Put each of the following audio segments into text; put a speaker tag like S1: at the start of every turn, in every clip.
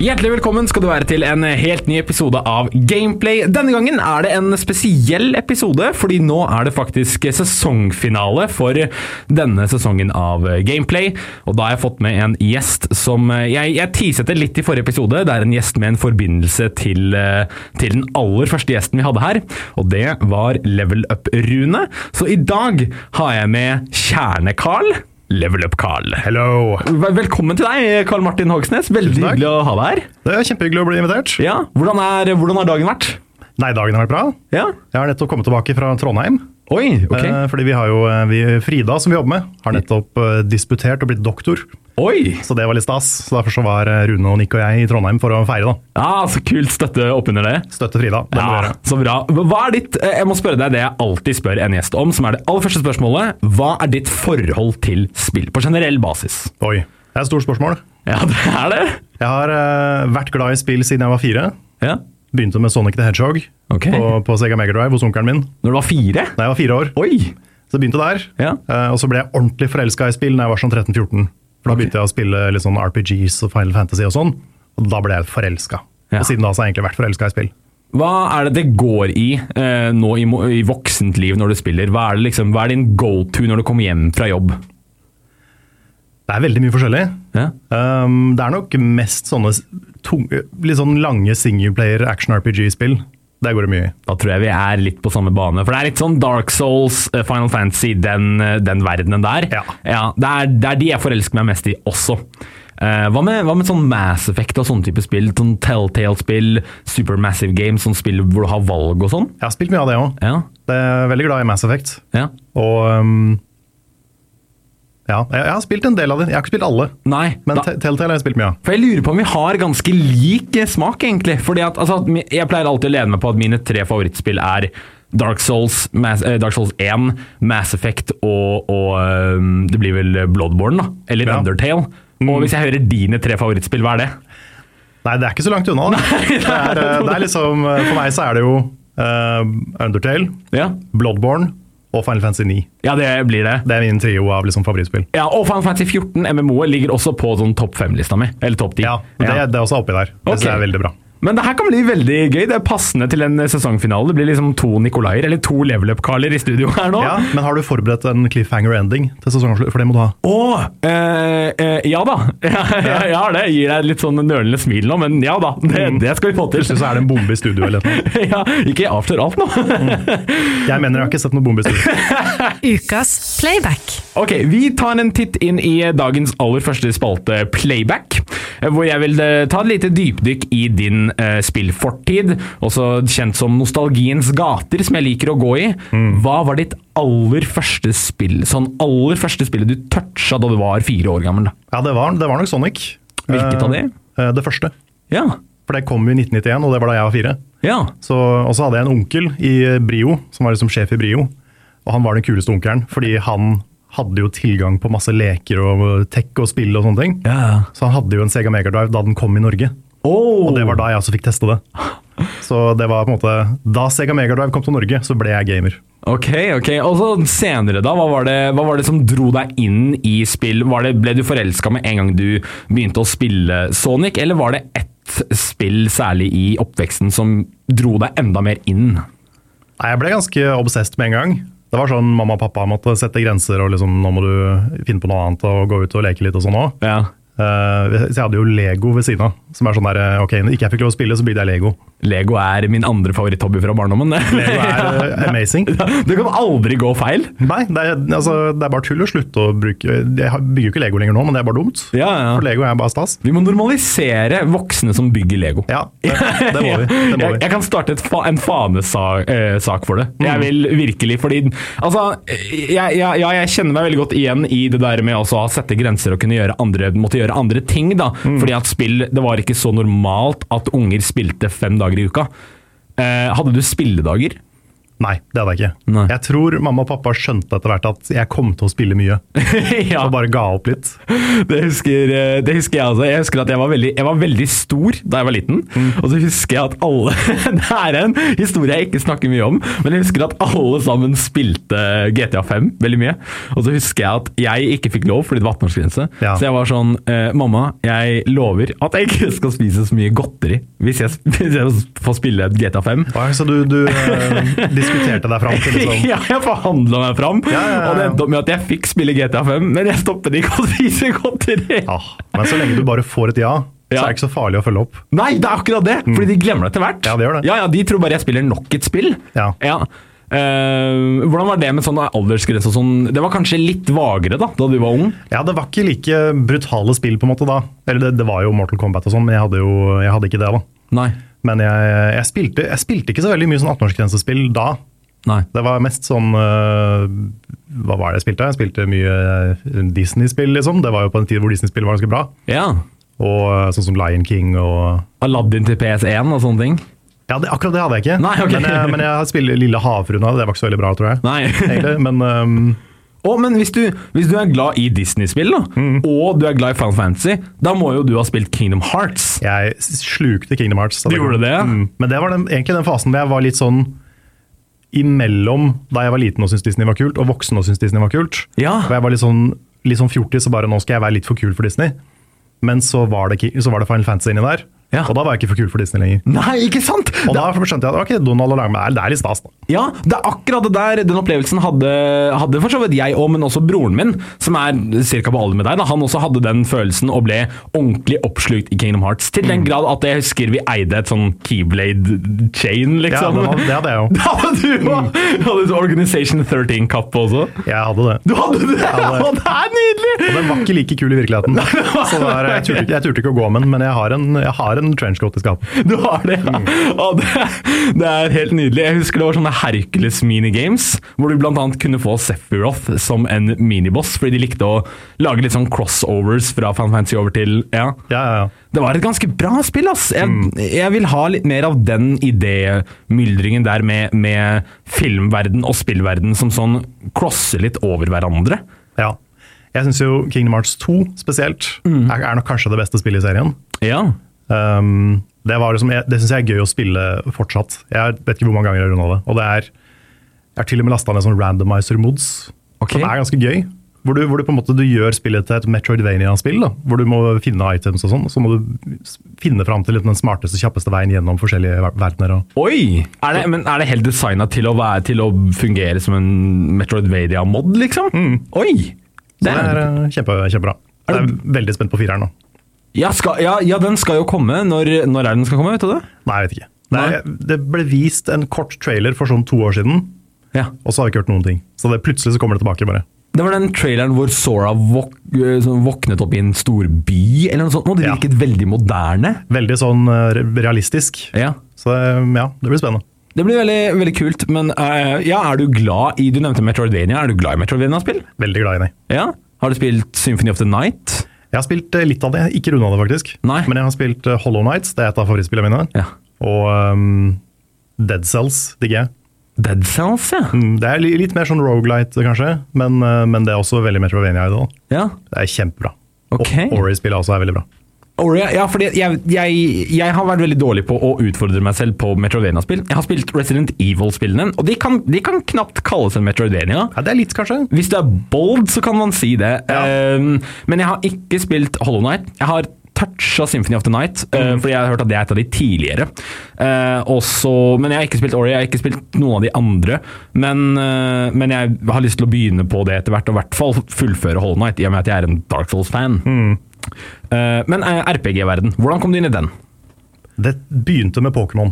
S1: Hjertelig velkommen skal du være til en helt ny episode av Gameplay. Denne gangen er det en spesiell episode, fordi nå er det faktisk sesongfinale for denne sesongen av Gameplay. Og da har jeg fått med en gjest som Jeg, jeg teaset det litt i forrige episode. Det er en gjest med en forbindelse til, eh, til den aller første gjesten vi hadde her, og det var Level Up-Rune. Så i dag har jeg med Kjerne-Carl. Level Up-Carl.
S2: Hello.
S1: Vel- Velkommen til deg, Karl Martin Hogsnes. Veldig
S2: Tusen takk.
S1: hyggelig å ha deg her.
S2: Det er kjempehyggelig å bli invitert.
S1: Ja, hvordan, er, hvordan har dagen vært?
S2: Nei, dagen har vært bra.
S1: Ja.
S2: Jeg har nettopp kommet tilbake fra Trondheim.
S1: Oi, ok.
S2: Eh, fordi vi har jo eh, vi, Frida, som vi jobber med, har nettopp eh, disputert og blitt doktor.
S1: Oi!
S2: Så det var litt stas. Så Derfor så var eh, Rune og Nick og jeg i Trondheim for å feire. da.
S1: Ja, så kult støtte oppunder det.
S2: Støtte Frida. Det må vi
S1: Ja,
S2: gjøre.
S1: så bra. Hva er ditt, eh, jeg må spørre deg det jeg alltid spør en gjest om, som er det aller første spørsmålet. Hva er ditt forhold til spill, på generell basis?
S2: Oi. Det er et stort spørsmål.
S1: Ja, det er det.
S2: Jeg har eh, vært glad i spill siden jeg var fire.
S1: Ja.
S2: Begynte med Sonic the Hedgehog
S1: Ok.
S2: på, på Sega Megadrive hos onkelen min
S1: Når du var fire?
S2: da jeg var fire år.
S1: Oi!
S2: Så jeg begynte der.
S1: Ja.
S2: Eh, og så ble jeg ordentlig forelska i spill når jeg var sånn 13-14. For Da begynte jeg å spille litt sånn RPGs og Final Fantasy og sånn. Og da ble jeg forelska.
S1: Ja.
S2: Og siden da så har jeg egentlig vært forelska i spill.
S1: Hva er det det går i eh, nå i, mo- i voksent liv når du spiller? Hva er, det liksom, hva er din go-to når du kommer hjem fra jobb?
S2: Det er veldig mye forskjellig.
S1: Ja.
S2: Um, det er nok mest sånne s- tunge, litt sånn lange singleplayer action RPG-spill. Der går det mye i.
S1: Da tror jeg vi er litt på samme bane. For det er litt sånn Dark Souls, eh, Final Fantasy, den, eh, den verdenen der.
S2: Ja.
S1: det, er, det er de jeg forelsker meg mest i også. Eh, hva, med, hva med sånn Mass Effect og sånne type spill? Sånn Telltale-spill, Supermassive Games, sånn spill hvor du har valg og sånn?
S2: Jeg har spilt mye av det òg.
S1: Ja.
S2: er Veldig glad i Mass Effect.
S1: ja.
S2: Og um, ja, jeg, jeg har spilt en del av det. Jeg har ikke spilt alle,
S1: Nei.
S2: men
S1: da-
S2: Te- Telltale har jeg spilt mye av.
S1: For jeg lurer på om vi har ganske lik eh, smak, egentlig. Fordi at, altså, at mi- Jeg pleier alltid å lene meg på at mine tre favorittspill er Dark Souls, Mass, eh, Dark Souls 1, Mass Effect og, og eh, Det blir vel Bloodborne, da. Eller
S2: Ja. Mm.
S1: Undertale. Og hvis jeg hører dine tre favorittspill, hva er det?
S2: Nei, det er ikke så langt unna. da. det, er, eh, det er liksom, eh, for meg så er det jo eh, Undertale,
S1: Ja,
S2: Bloodborne og Final Fantasy 9.
S1: ja det blir det.
S2: Det er min trio av liksom, favorittspill.
S1: Ja, Og Final Fantasy 14, MMO-et, ligger også på sånn topp fem-lista mi. Eller topp ti.
S2: Ja, det, det er også oppi der. Det synes jeg
S1: Ok.
S2: er veldig bra.
S1: Men det her kan bli veldig gøy. Det er passende til en sesongfinale. Det blir liksom to Nikolaier, eller to Level Up-Carler i studio her nå.
S2: Ja, men har du forberedt en cliffhanger-ending til sesongen? For det må du ha.
S1: Å! eh, eh, ja da. Ja, ja, jeg har det. Jeg Gir deg litt sånn nølende smil nå, men ja da. Det, det skal vi få til.
S2: Plutselig så er det en bombe i studio eller noe.
S1: ja, ikke avslør alt nå.
S2: Jeg mener jeg har ikke sett noen bombe i studio.
S3: Ukas playback.
S1: Ok, Vi tar en titt inn i dagens aller første spalte, Playback. eh, Hvor jeg vil eh, ta et lite dypdykk i din eh, spillfortid, også kjent som nostalgiens gater, som jeg liker å gå i. Hva var ditt aller første spill? Sånn aller første spillet du toucha da du var fire år gammel? da?
S2: Ja, det var, det var nok Sonic.
S1: Hvilket av
S2: Eh,
S1: de?
S2: eh, Det første.
S1: Ja.
S2: For det kom jo i 1991, og det var da jeg var fire.
S1: Ja.
S2: Så, og så hadde jeg en onkel i Brio, som var liksom sjef i Brio. Og han var den kuleste onkelen, fordi han hadde jo tilgang på masse leker og tech og spill og sånne ting.
S1: ja.
S2: Så han hadde jo en Sega Megadrive da den kom i Norge.
S1: Oh.
S2: Og det var da jeg også fikk teste det. Så det var på en måte Da Sega Megadrive kom til Norge, så ble jeg gamer.
S1: Ok, ok. Og så senere, da? Hva var, det, hva var det som dro deg inn i spill? Var det, ble du forelska med en gang du begynte å spille Sonic, eller var det ett spill, særlig i oppveksten, som dro deg enda mer inn?
S2: Nei, Jeg ble ganske obsessed med en gang. Det var sånn mamma og pappa måtte sette grenser og liksom nå må du finne på noe annet og gå ut og leke litt og sånn òg.
S1: Ja.
S2: så jeg hadde jo Lego ved siden av, som er sånn der eh, ok, når ikke jeg fikk lov å spille, så bygde jeg Lego.
S1: Lego er min andre favoritthobby fra barndommen.
S2: Lego er eh, amazing.
S1: Det kan aldri gå feil.
S2: Nei, det er, altså, det er bare tull å slutte å bruke Jeg har- bygger jo ikke Lego lenger nå, men det er bare dumt.
S1: Ja,
S2: For Lego er bare stas.
S1: Vi må normalisere voksne som bygger Lego.
S2: Ja, det, det må vi. Det må
S1: jeg,
S2: vi.
S1: jeg kan starte et fa en fanesak eh, sak for det. Jeg vil virkelig, fordi Altså, jeg, jeg, ja, jeg kjenner meg veldig godt igjen i det der med også å sette grenser og kunne gjøre andre, måtte gjøre andre ting, da.
S2: Mm.
S1: Fordi at spill Det var ikke så normalt at unger spilte fem dager i uka. Eh, hadde du spilledager?
S2: Nei, det hadde jeg ikke.
S1: Nei.
S2: Jeg tror mamma og pappa skjønte etter hvert at jeg kom til å spille mye,
S1: ja,
S2: og bare ga opp litt.
S1: det husker, eh, det husker jeg altså. Jeg husker at jeg var veldig, jeg var veldig stor da jeg var liten.
S2: Mm.
S1: Og så husker jeg at alle Det er en historie jeg ikke snakker mye om, men jeg husker at alle sammen spilte GTA 5 veldig mye. Og så husker jeg at jeg ikke fikk lov fordi det var 18-årsgrense.
S2: Ja.
S1: Så jeg var sånn eh, Mamma, jeg lover at jeg ikke skal spise så mye godteri hvis jeg, hvis jeg får spille GTA 5.
S2: Oi, Så du, du eh, diskuterte deg fram til liksom
S1: Ja, jeg forhandla meg fram,
S2: Ja, ja, ja.
S1: og det endte opp med at jeg fikk spille GTA 5, men jeg stoppet ikke å spise godteri.
S2: ja. Ah, Men så lenge du bare får et ja, så
S1: Ja.
S2: er det ikke så farlig å følge opp.
S1: Nei, det er akkurat det! Fordi de glemmer det etter hvert.
S2: Mm. Ja, det gjør det.
S1: Ja, ja, De tror bare jeg spiller nok et spill.
S2: Ja.
S1: Eh, hvordan var det med sånn aldersgrense og sånn? Det var kanskje litt vagere da da du var ung?
S2: Ja, det var ikke like brutale spill på en måte da. Eller det, det var jo Mortal Kombat og sånn, men jeg hadde jo jeg hadde ikke det da.
S1: Nei.
S2: Men jeg, jeg, spilte, jeg spilte ikke så veldig mye sånn 18-årsgrensespill da.
S1: Nei.
S2: Det var mest sånn øh, Hva var det jeg spilte? Jeg spilte mye øh, Disney-spill, liksom. Det var jo på en tid hvor Disney-spill var ganske bra.
S1: Ja.
S2: Og øh, sånn som Lion King og
S1: Aladdin til PS1 og sånne ting?
S2: Ja, det, akkurat det hadde jeg ikke.
S1: Nei, ok.
S2: Men, jeg, men jeg spiller Lille havfruen av det. Det var ikke så veldig bra, tror jeg.
S1: Nei.
S2: Egentlig, men øhm,
S1: Å, men hvis du, hvis du er glad i Disney-spill, da,
S2: Mm.
S1: og du er glad i Final Fantasy, da må jo du ha spilt Kingdom Hearts.
S2: jeg s- slukte Kingdom Hearts.
S1: Du gjorde det?
S2: Mm. Men det var den, egentlig den fasen hvor jeg var litt sånn imellom da jeg var liten og syntes Disney var kult, og voksen og syntes Disney var kult.
S1: Ja.
S2: Hvor jeg var litt sånn, litt sånn fjortis og bare nå skal jeg være litt for kul for Disney. Men så var det, ki- så var det Final Fantasy inni der,
S1: Ja.
S2: og da var jeg ikke for kul for Disney lenger.
S1: Nei, ikke sant?
S2: Og da skjønte jeg at ok, Donald og Langberg, det er litt stas. da.
S1: Ja, det er akkurat det der den opplevelsen hadde, hadde for så vidt jeg òg, men også broren min, som er ca. på alder med deg. Da. Han også hadde den følelsen og ble ordentlig oppslukt i Kingdom Hearts. Til
S2: Mm.
S1: den grad at jeg husker vi eide et sånn Keyblade-chain,
S2: Ja,
S1: liksom.
S2: det, var, det Mm. hadde jeg jo.
S1: det hadde du òg! Hadde du Organization 13-kappe også?
S2: Jeg hadde det.
S1: Du hadde det!
S2: hadde-
S1: Å, det er nydelig!
S2: Og den var ikke like kul i virkeligheten. Så det er- jeg, turte ikke, jeg turte ikke å gå med den, men jeg har en, jeg har en trenchcoat i skapet.
S1: Du har det, ja. Å, det, det er helt nydelig. Jeg husker det var sånne Hercules minigames, hvor du bl.a. kunne få Sephiroth som en miniboss, fordi de likte å lage litt sånn crossovers fra Fan Fantasy over til Ja.
S2: Ja, ja, ja.
S1: Det var et ganske bra spill, ass. Jeg, jeg vil ha litt mer av den idémyldringen der med, med filmverden og spillverden som sånn crosser litt over hverandre.
S2: Ja. Jeg syns jo Kingdom Hearts 2 spesielt er, er nok kanskje det beste spillet i serien.
S1: Ja.
S2: Um, det var liksom, jeg- det syns jeg er gøy å spille fortsatt. Jeg vet ikke hvor mange ganger jeg har runda det. Og det er, jeg har til og med lasta ned sånn randomizer mods,
S1: Ok.
S2: som er ganske gøy. Hvor du, hvor du på en måte du gjør spillet til et Metroidvania-spill, da, hvor du må finne items og sånn. og Så må du s- finne fram til liksom den smarteste, kjappeste veien gjennom forskjellige ver- verdener. Og.
S1: Oi! Er det, men er det helt designa til, å være- til å fungere som en Metroidvania-mod, liksom? Oi!
S2: Mm. Det er eh, kjempe, kjempebra. Jeg er veldig spent på fireren nå.
S1: Ja, skal, ja, ja, den skal jo komme. Når, når er den skal komme, vet du det?
S2: Nei, jeg vet ikke. Det, er, det ble vist en kort trailer for sånn to år siden,
S1: Ja.
S2: og så har vi ikke hørt noen ting. Så det, plutselig så kommer det tilbake, bare.
S1: Det var den traileren hvor Sora våk, øh, sånn våknet opp i en stor by, eller noe sånt. Og det
S2: Ja.
S1: virket veldig moderne.
S2: Veldig sånn eh, re- realistisk.
S1: Ja.
S2: Så det- ja, det blir spennende.
S1: Det blir veldig, veldig kult, men øh, ja, er du glad i Du nevnte Metroidvania. Er du glad i Metroidvania-spill?
S2: Veldig glad i det.
S1: Ja. Har du spilt Symphony of the Night?
S2: Jeg har spilt eh, litt av det, ikke runda det faktisk.
S1: Nei.
S2: Men jeg har spilt eh, Hollow Nights, det er et av favorittspillene mine.
S1: Ja.
S2: Og ehm, Dead Cells digger jeg.
S1: Dead Cells, ja.
S2: Mm, Det er li- litt mer sånn rogelight, kanskje, men, eh, men det er også veldig Metrovania i det. da.
S1: ja.
S2: Det er kjempebra.
S1: Ok.
S2: Og Ori-spillet også er veldig bra.
S1: Ori, ja, fordi jeg, jeg, jeg har vært veldig dårlig på å utfordre meg selv på Metroidvania-spill. Jeg har spilt Resident Evil-spillene, og de kan, de kan knapt kalles en Metroidvania.
S2: Ja, det er litt, kanskje.
S1: Hvis du er bold, så kan man si det.
S2: Ja.
S1: Um, men jeg har ikke spilt Hollow Night. Jeg har toucha Symphony of the Night, uh,
S2: Mm.
S1: fordi jeg har hørt at det er et av de tidligere. Uh, og så- men jeg har ikke spilt Ori, jeg har ikke spilt noen av de andre. Men, uh, men jeg har lyst til å begynne på det etter hvert, og i hvert fall fullføre Hollow Night, i og med at jeg er en Dark Souls-fan.
S2: Mm.
S1: Uh, men uh, RPG-verden, hvordan kom du inn i den?
S2: Det begynte med Pokémon.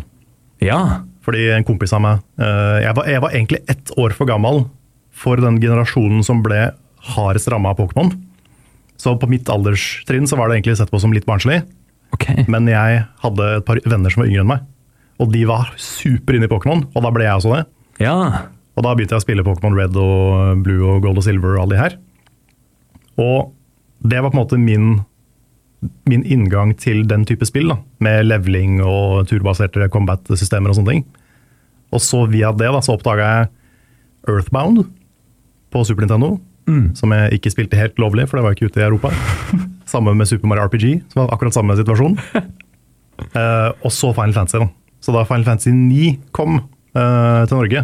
S1: Ja,
S2: Fordi en kompis av meg eh, jeg, var, jeg var egentlig ett år for gammel for den generasjonen som ble hardest ramma av Pokémon. Så på mitt alderstrinn så var det egentlig sett på som litt barnslig.
S1: ok.
S2: Men jeg hadde et par venner som var yngre enn meg, og de var super inne i Pokémon. Og da ble jeg også det.
S1: Ja.
S2: Og da begynte jeg å spille Pokémon Red og Blue og Gold og Silver og alle de her. Og det var på en måte min, min inngang til den type spill, da, med leveling og turbaserte combat-systemer og sånne ting. Og så via det da, så oppdaga jeg Earthbound på Super Nintendo. Som jeg ikke spilte helt lovlig, for det var jo ikke ute i Europa. samme med Super Mario RPG, som var akkurat samme situasjon. Eh, og så Final Fantasy. da. Så da Final Fantasy 9 kom eh, til Norge,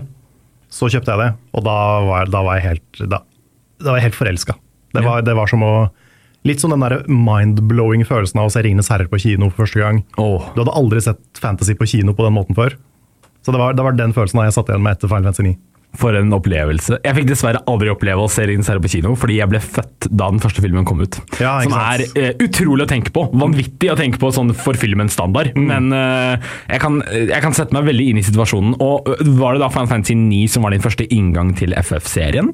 S2: så kjøpte jeg det. Og da var, jeg- da var jeg helt, da, da var jeg helt forelska. Det, var- det var som å Litt som den der mind-blowing følelsen av å se 'Ringenes herrer' på kino for første gang.
S1: Åh.
S2: Du hadde aldri sett fantasy på kino på den måten før. Så det var, det var den følelsen jeg satt igjen med etter Final Fantasy 9.
S1: For en opplevelse. Jeg fikk dessverre aldri oppleve å se Ringens herre på kino, fordi jeg ble født da den første filmen kom ut.
S2: Ja, ikke
S1: som er
S2: sant.
S1: eh, utrolig å tenke på. Vanvittig å tenke på sånn for filmens standard.
S2: Mm.
S1: Men eh, jeg, kan, jeg kan sette meg veldig inn i situasjonen. Og eh, Var det da Final Fantasy 9 som var din første inngang til FF-serien?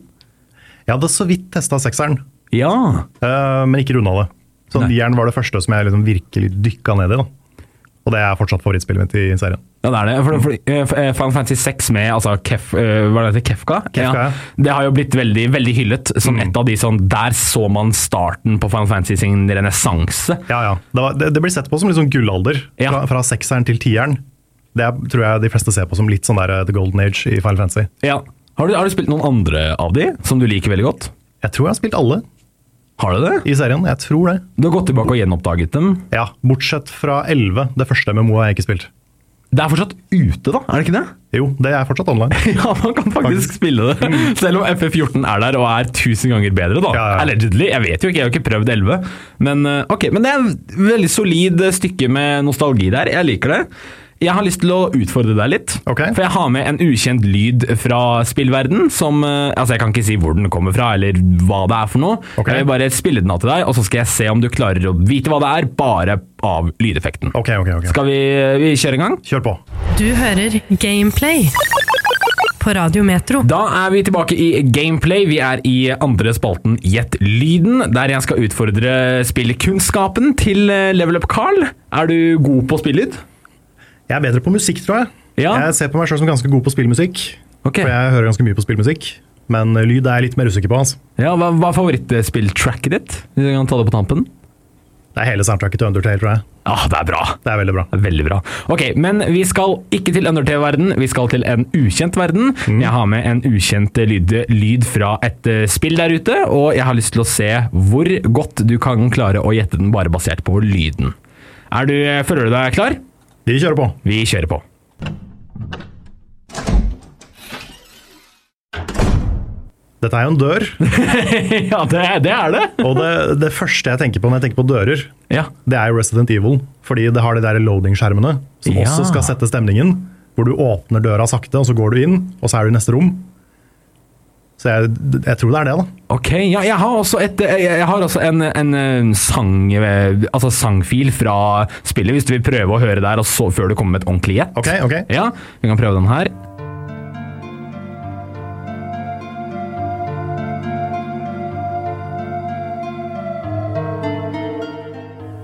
S2: Jeg hadde så vidt testa sekseren,
S1: Ja.
S2: eh, men ikke runda det. Så
S1: Nei.
S2: nieren var det første som jeg liksom virkelig dykka ned i. da. Og det er fortsatt favorittspillet mitt i serien.
S1: Ja, det er det. For, for, eh, Final Fantasy 6 med altså, Kef, eh, hva er det, heter, Kefka?
S2: Kefka, ja. Mm.
S1: Det har jo blitt veldig, veldig hyllet som et av de sånn Der så man starten på Final Fantasy sin renessanse.
S2: Ja, ja. Det, var, det, det blir sett på som litt sånn gullalder.
S1: Ja.
S2: Fra, fra sekseren til tieren. Det er, tror jeg de fleste ser på som litt sånn der eh, the golden age i Final Fantasy.
S1: Ja. Har, du, har du spilt noen andre av de som du liker veldig godt?
S2: Jeg tror jeg har spilt alle
S1: Har du det?
S2: i serien. Jeg tror det.
S1: Du har gått tilbake og gjenoppdaget dem.
S2: Ja, Bortsett fra 11. Det første MMO har jeg ikke spilt.
S1: Det er fortsatt ute, da, er det ikke det?
S2: Jo, det er fortsatt online.
S1: Ja, man kan faktisk
S2: Faktisk. Mm.
S1: spille det. Selv om FF14 er der og er tusen ganger bedre, da.
S2: Ja, ja.
S1: Allegedly. Jeg vet jo ikke, jeg har jo ikke prøvd 11. Men, eh, ok, men det er et veldig solid eh, stykke med nostalgi der. Jeg liker det. Jeg har lyst til å utfordre deg litt.
S2: Ok.
S1: For jeg har med en ukjent lyd fra spillverden som eh, Altså, jeg kan ikke si hvor den kommer fra, eller hva det er for noe.
S2: Ok.
S1: Jeg vil bare spille den av til deg, og så skal jeg se om du klarer å vite hva det er, bare av lydeffekten.
S2: Ok, ok, ok.
S1: Skal vi, eh, vi kjøre i gang?
S2: Kjør på.
S3: Du hører Gameplay på Radio Metro.
S1: Da er vi tilbake i gameplay. Vi er i andre spalten Gjett lyden, der jeg skal utfordre spillkunnskapen til eh, Level Up Carl. Er du god på spillyd?
S2: Jeg er bedre på musikk, tror jeg.
S1: Ja.
S2: Jeg ser på meg sjøl som ganske god på spillmusikk.
S1: Ok.
S2: For jeg hører ganske mye på spillmusikk. Men eh, lyd er jeg litt mer usikker på. Altså.
S1: Ja, hva, hva er favorittspilltracket ditt? Hvis jeg kan ta det på tampen.
S2: Det er hele soundtracket til Undertale, tror jeg.
S1: Ah, det er bra.
S2: Det er veldig bra.
S1: Det er Veldig bra. Ok, men vi skal ikke til Undertale-verden, vi skal til en ukjent verden. Jeg har med en ukjent lyd, lyd fra et eh, spill der ute, og jeg har lyst til å se hvor godt du kan klare å gjette den bare basert på lyden. Er du, eh, føler du deg klar?
S2: Vi kjører på.
S1: Vi kjører på.
S2: Dette er jo en dør,
S1: ja, det, det er det.
S2: og det, det første jeg tenker på når jeg tenker på dører,
S1: Ja.
S2: det er jo Resident Evil, fordi det har de der loading-skjermene, som
S1: Ja.
S2: også skal sette stemningen, hvor du åpner døra sakte, og så går du inn, og så er du i neste rom. Så jeg, jeg tror det er det, da.
S1: Ok, ja, jeg har også, et, eh, jeg, jeg har også en, en eh, sang, eh, altså sangfil fra spillet, hvis du vil prøve å høre der og så, før du kommer med et ordentlig gjett.
S2: Ok, ok.
S1: Ja, vi kan prøve den her.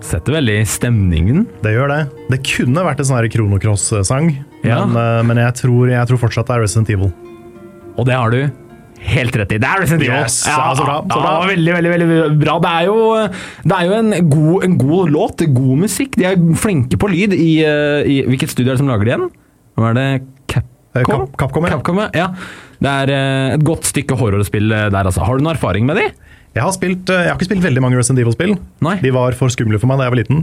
S1: Setter veldig stemningen.
S2: Det gjør det. Det kunne vært en sånn her Chrono Cross-sang,
S1: Ja.
S2: men, eh, men jeg, tror, jeg tror fortsatt det er Resident Evil.
S1: Og det har du helt rett i. Det er Resident Evil!
S2: Yes, ja, så
S1: ja,
S2: bra, så bra.
S1: det var veldig, veldig, veldig bra. Det er jo, det er jo en, god, en god låt, god musikk. De er flinke på lyd i, eh, i Hvilket studio er det som lager det igjen? Hva er det?
S2: Eh,
S1: Capcom?
S2: Cap- Capcom, ja.
S1: ja. Det er eh, et godt stykke horrorspill eh, der, altså. Har du noe erfaring med de?
S2: Jeg har, spilt, eh, jeg har ikke spilt veldig mange Resident Evil-spill.
S1: Nei.
S2: De var for skumle for meg da jeg var liten.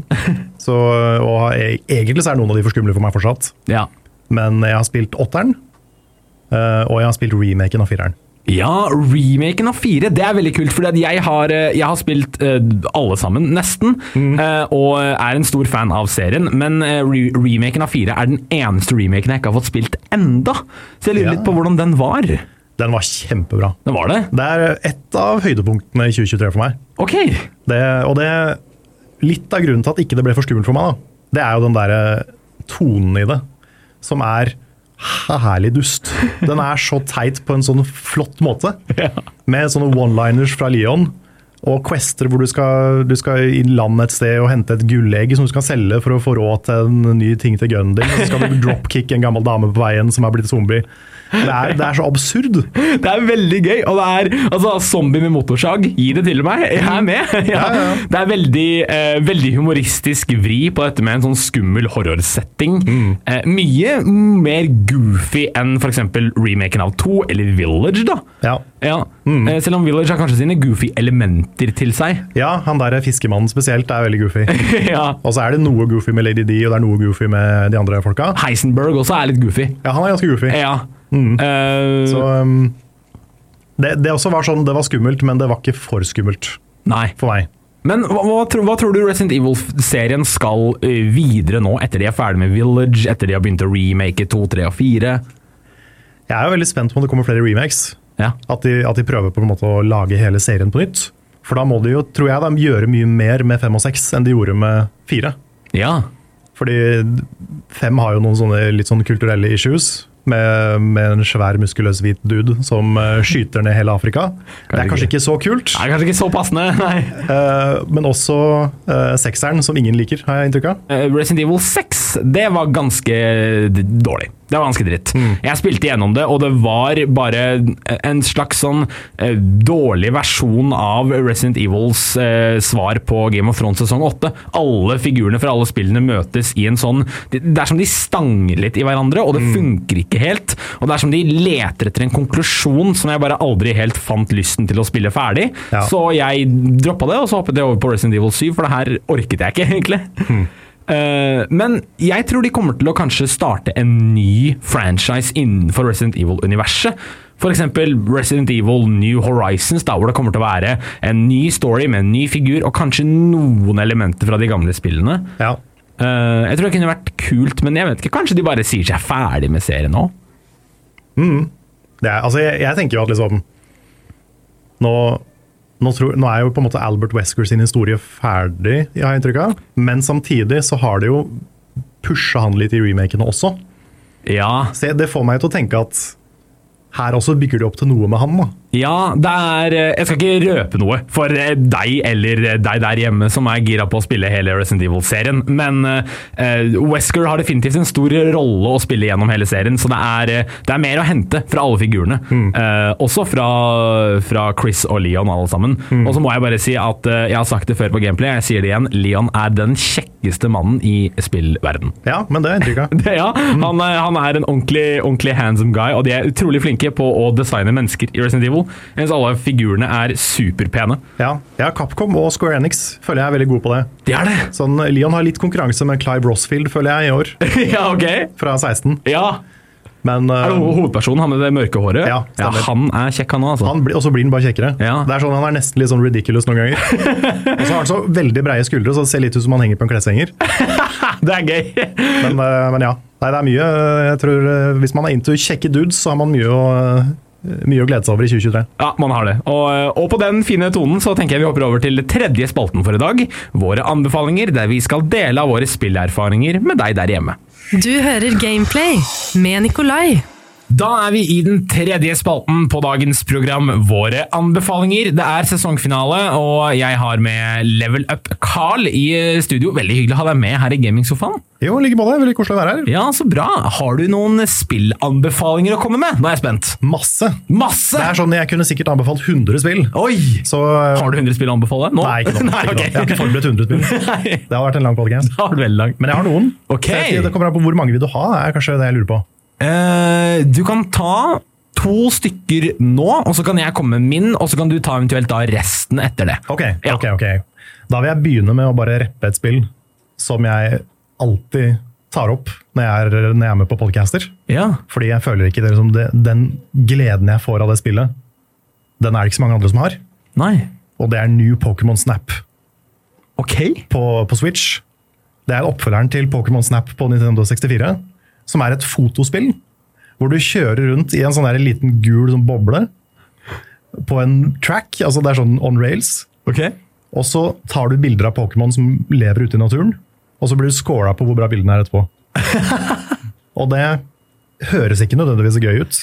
S2: Så, og jeg, egentlig så er noen av de for skumle for meg fortsatt.
S1: Ja.
S2: Men jeg har spilt åtteren, eh, og jeg har spilt remaken av fireren.
S1: Ja, remaken av fire, det er veldig kult, for jeg, har, eh, jeg har spilt eh, alle sammen, nesten, eh, og er en stor fan av serien, men eh, re remaken av fire er den eneste remaken jeg ikke har fått spilt enda, så jeg lurer
S2: Ja.
S1: litt på hvordan den var. Den
S2: Den var kjempebra.
S1: var det?
S2: Det er et av høydepunktene i 2023 for meg.
S1: Ok,
S2: Det, og det Litt av grunnen til at ikke det ble for skummelt for meg, da, det er jo den derre tonen i det som er herlig dust. Den er så teit på en sånn flott måte. Med sånne one-liners fra Leon og quester hvor du skal, du skal i land et sted og hente et gullegg som du skal selge for å få råd til en ny ting til gunnen din. Og så skal du dropkick en gammel dame på veien som er blitt zombie. Det er, det er så absurd.
S1: Det er veldig gøy, og det er altså, zombie med motorsag. Gi det til meg, jeg er med! Ja. Det er veldig, eh, veldig humoristisk vri på dette med en sånn skummel horrorsetting. Eh, mye mer goofy enn f.eks. remaken av 2 eller Village, da.
S2: Ja.
S1: Ja. Eh, selv om Village har kanskje sine goofy elementer til seg.
S2: ja, han der fiskemannen spesielt er veldig goofy.
S1: ja.
S2: Og så er det noe goofy med Lady D, og det er noe goofy med de andre folka.
S1: Heisenberg også er litt goofy.
S2: Ja, han er ganske goofy.
S1: Ja. Eh,
S2: Så um, det, det også var sånn, det var skummelt, men det var ikke for skummelt
S1: Nei.
S2: for meg.
S1: Men hva, hva, tro, hva tror du Resident Evil-serien skal ø, videre nå, etter de er ferdig med Village, etter de har begynt å remake 2, 3 og 4?
S2: Jeg er jo veldig spent på om det kommer flere remakes.
S1: Ja.
S2: At de, at de prøver på en måte å lage hele serien på nytt. For da må de jo, tror jeg, de gjøre mye mer med fem og seks enn de gjorde med fire.
S1: ja.
S2: Fordi fem har jo noen sånne litt sånn kulturelle issues. Med, med en svær, muskuløs hvit dude som eh, skyter ned hele Afrika. Det er kanskje ikke så kult.
S1: Det er kanskje ikke så passende, nei.
S2: eh, men også eh, sekseren, som ingen liker, har jeg inntrykk av.
S1: Eh, Resident Evil 6, det var ganske d- dårlig. Det var ganske dritt. Jeg spilte gjennom det, og det var bare en slags sånn eh, dårlig versjon av Resident Evils eh, svar på Game of Thrones sesong 8. Alle figurene fra alle spillene møtes i en sånn Det det er som de stanger litt i hverandre, og det funker ikke helt. Og det er som de leter etter en konklusjon som jeg bare aldri helt fant lysten til å spille ferdig.
S2: Ja.
S1: Så jeg droppa det, og så hoppet jeg over på Resident Evil 7, for det her orket jeg ikke, egentlig. Eh, men jeg tror de kommer til å kanskje starte en ny franchise innenfor Resident Evil-universet. F.eks. Resident Evil New Horizons, da, hvor det kommer til å være en ny story med en ny figur, og kanskje noen elementer fra de gamle spillene.
S2: Ja.
S1: Eh, jeg tror det kunne vært kult, men jeg vet ikke, kanskje de bare sier seg ferdig med serien nå?
S2: Det er, altså, jeg, jeg tenker jo at liksom nå, nå, tror, nå er jo på en måte Albert Wesker sin historie ferdig, jeg har inntrykk av. Men samtidig så har det jo pusha han litt i remakene også.
S1: Ja,
S2: Så jeg- det får meg til å tenke at her også bygger de opp til noe med han, da.
S1: Ja, det er eh, Jeg skal ikke røpe noe for eh, deg eller eh, deg der hjemme som er gira på å spille hele Resident Evil-serien, men eh, Wesker har definitivt en stor rolle å spille gjennom hele serien, så det er, eh, det er mer å hente fra alle figurene. Eh, også fra, fra Chris og Leon, alle sammen. Og så må jeg bare si at eh, jeg har sagt det før på Gameplay, jeg sier det igjen, Leon er den kjekkeste mannen i spillverden.
S2: Ja, men det er inntrykk av.
S1: Det, ja. han, er, han er en ordentlig, ordentlig handsome guy, og de er utrolig flinke på å designe mennesker i Resident Evil. Mens alle figurene er superpene.
S2: Ja. ja, Capcom og Square Enix føler jeg er veldig gode på det.
S1: Det er det!
S2: Sånn, Leon har litt konkurranse med Clive Rossfield, føler jeg, i år,
S1: ja, ok.
S2: fra 16.
S1: Ja.
S2: Men
S1: Er det
S2: eh,
S1: ho- hovedpersonen, han med det mørke håret?
S2: Ja, stemmer.
S1: Han er kjekk, han òg, altså.
S2: han blir, og så blir han bare kjekkere.
S1: Ja.
S2: Det er sånn, Han er nesten litt sånn ridiculous noen ganger. og så har han så veldig breie skuldre, så det ser litt ut som han henger på en kleshenger.
S1: Det er gøy!
S2: Men, eh, men ja. Nei, det er mye eh, jeg tror, eh, Hvis man er into kjekke dudes, så har man mye å, eh, mye å glede seg over i 2023.
S1: ja, man har det. Og, og på den fine tonen så tenker jeg vi hopper over til tredje spalten for i dag. Våre anbefalinger, der vi skal dele av våre spillerfaringer med deg der hjemme.
S3: Du hører Gameplay med Nikolai.
S1: Da er vi i den tredje spalten på dagens program, våre anbefalinger. Det er sesongfinale, og jeg har med Level Up Carl i studio. Veldig hyggelig å ha deg med her i gamingsofaen.
S2: Jo, like på det. Veldig koselig å være her.
S1: Ja, så bra. Har du noen spillanbefalinger å komme med? Nå er jeg spent.
S2: Masse. Det
S1: Masse!
S2: er sånn, Jeg kunne sikkert anbefalt 100 spill.
S1: Oi!
S2: Så eh,
S1: Har du 100 spill å anbefale? Nå?
S2: Nei, ikke nå.
S1: Nei,
S2: ikke nå.
S1: ok.
S2: Jeg har ikke forberedt 100 spill.
S1: Nei,
S2: Det har vært en lang podcast.
S1: det har vært veldig langt.
S2: Men jeg har noen.
S1: Ok.
S2: Så jeg- Det kommer an på hvor mange vil du ha, er kanskje det jeg lurer på.
S1: Eh, du kan ta to stykker nå, og så kan jeg komme med min, og så kan du ta eventuelt da resten etter det.
S2: Ok,
S1: Ja.
S2: ok, ok. Da vil jeg begynne med å bare reppe et spill som jeg alltid tar opp når jeg er, når jeg er med på podcaster.
S1: Ja.
S2: Fordi jeg føler ikke det, liksom, det, den gleden jeg får av det spillet, den er det ikke så mange andre som har.
S1: Nei.
S2: Og det er New Pokémon Snap
S1: Ok.
S2: på, på Switch. Det er oppfølgeren til Pokémon Snap på Nintendo 64, som er et fotospill hvor du kjører rundt i en sånn der liten gul sånn boble på en track, altså det er sånn on rails,
S1: Ok.
S2: Og så tar du bilder av Pokémon som lever ute i naturen, og så blir du scora på hvor bra bildene er etterpå. og det høres ikke nødvendigvis gøy ut,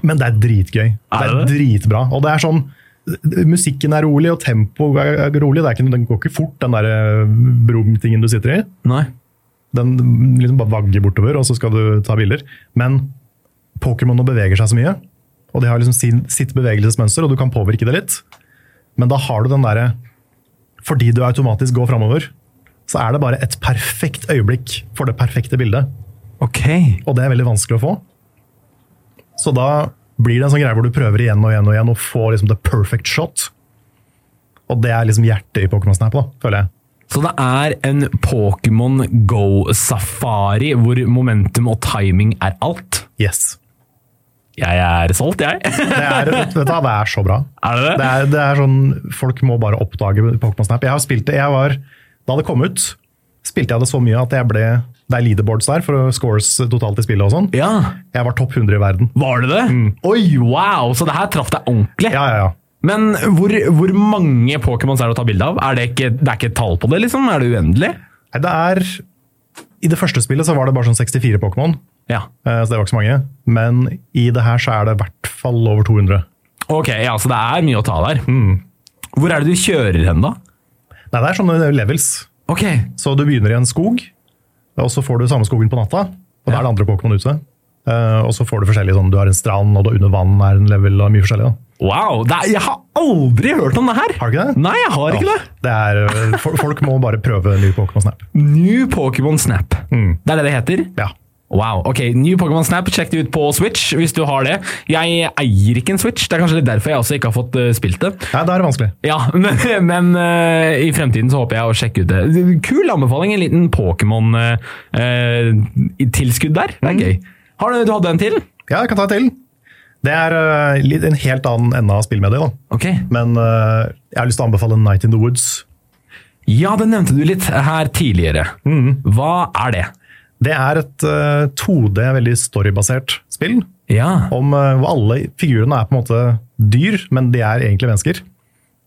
S2: men det er dritgøy. Det
S1: Er
S2: er
S1: det det?
S2: dritbra. Og det er sånn Musikken er rolig, og tempoet er er rolig. Det er ikke, den går ikke fort, den der eh, brum-tingen du sitter i.
S1: Nei.
S2: Den liksom bare vagger bortover, og så skal du ta bilder. Men Pokémon nå beveger seg så mye, og de har liksom sin, sitt bevegelsesmønster, og du kan påvirke det litt. Men da har du den derre Fordi du automatisk går framover, så er det bare et perfekt øyeblikk for det perfekte bildet.
S1: Ok.
S2: Og det er veldig vanskelig å få. Så da blir det en sånn greie hvor du prøver igjen og igjen og igjen å få liksom the perfect shot. Og det er liksom hjertet i Pokémon Snap, da, føler jeg.
S1: Så det er en Pokémon Go-safari hvor momentum og timing er alt.
S2: Yes.
S1: Jeg er solgt, jeg.
S2: Det er, vet du, hva, det er så bra.
S1: Er det det?
S2: Det er, det er sånn, Folk må bare oppdage Pokémon Snap. Jeg har spilt det, jeg var, Da det kom ut, spilte jeg det så mye at jeg ble Det er leaderboards der for å scores totalt i spillet og sånn.
S1: Ja.
S2: Jeg var topp 100 i verden.
S1: Var det det? Oi, wow! Så det her traff deg ordentlig.
S2: Ja, ja, ja.
S1: Men hvor, hvor mange Pokémons er det å ta bilde av? Er det, ikke, det er ikke et tall på det, liksom? Er det uendelig?
S2: Nei, Det er I det første spillet så var det bare sånn 64 Pokémon,
S1: Ja.
S2: eh, så det var ikke så mange. Men i det her så er det i hvert fall over 200.
S1: Ok, ja, så det er mye å ta der. Mm. Hvor er det du kjører hen, da?
S2: Nei, det er sånne levels.
S1: Ok.
S2: Så du begynner i en skog, og så får du samme skogen på natta, og da er det andre Pokémon ute. Eh, og så får du forskjellig sånn, du har en strand, og du under vann er en level, og mye forskjellig. da.
S1: Wow! Det er, jeg har aldri hørt om det her!
S2: Har du ikke det?
S1: Nei, jeg har ikke det.
S2: Det er, eh, for, folk må bare prøve ny Pokémon Snap.
S1: New Pokémon Snap. Det er det det heter?
S2: Ja.
S1: Wow. ok, New Pokémon Snap, sjekk det ut på Switch hvis du har det. Jeg eier ikke en Switch, det er kanskje litt derfor jeg også ikke har fått eh, spilt det.
S2: Nei, det er vanskelig.
S1: Ja, men, men eh, i fremtiden så håper jeg å sjekke ut det. Kul anbefaling, en liten eh, Pokémon-tilskudd der. Det er gøy. Har du, du hadde en til?
S2: Ja, jeg kan ta et til. Det er eh, litt- en helt annen ende av spillmediet, da.
S1: Ok.
S2: Men eh, jeg har lyst til å anbefale Night in the Woods.
S1: Ja, det nevnte du litt her tidligere. Hva er det?
S2: Det er et eh, 2D, veldig storybasert spill.
S1: Ja.
S2: om eh, hvor alle figurene er på en måte dyr, men de er egentlig mennesker.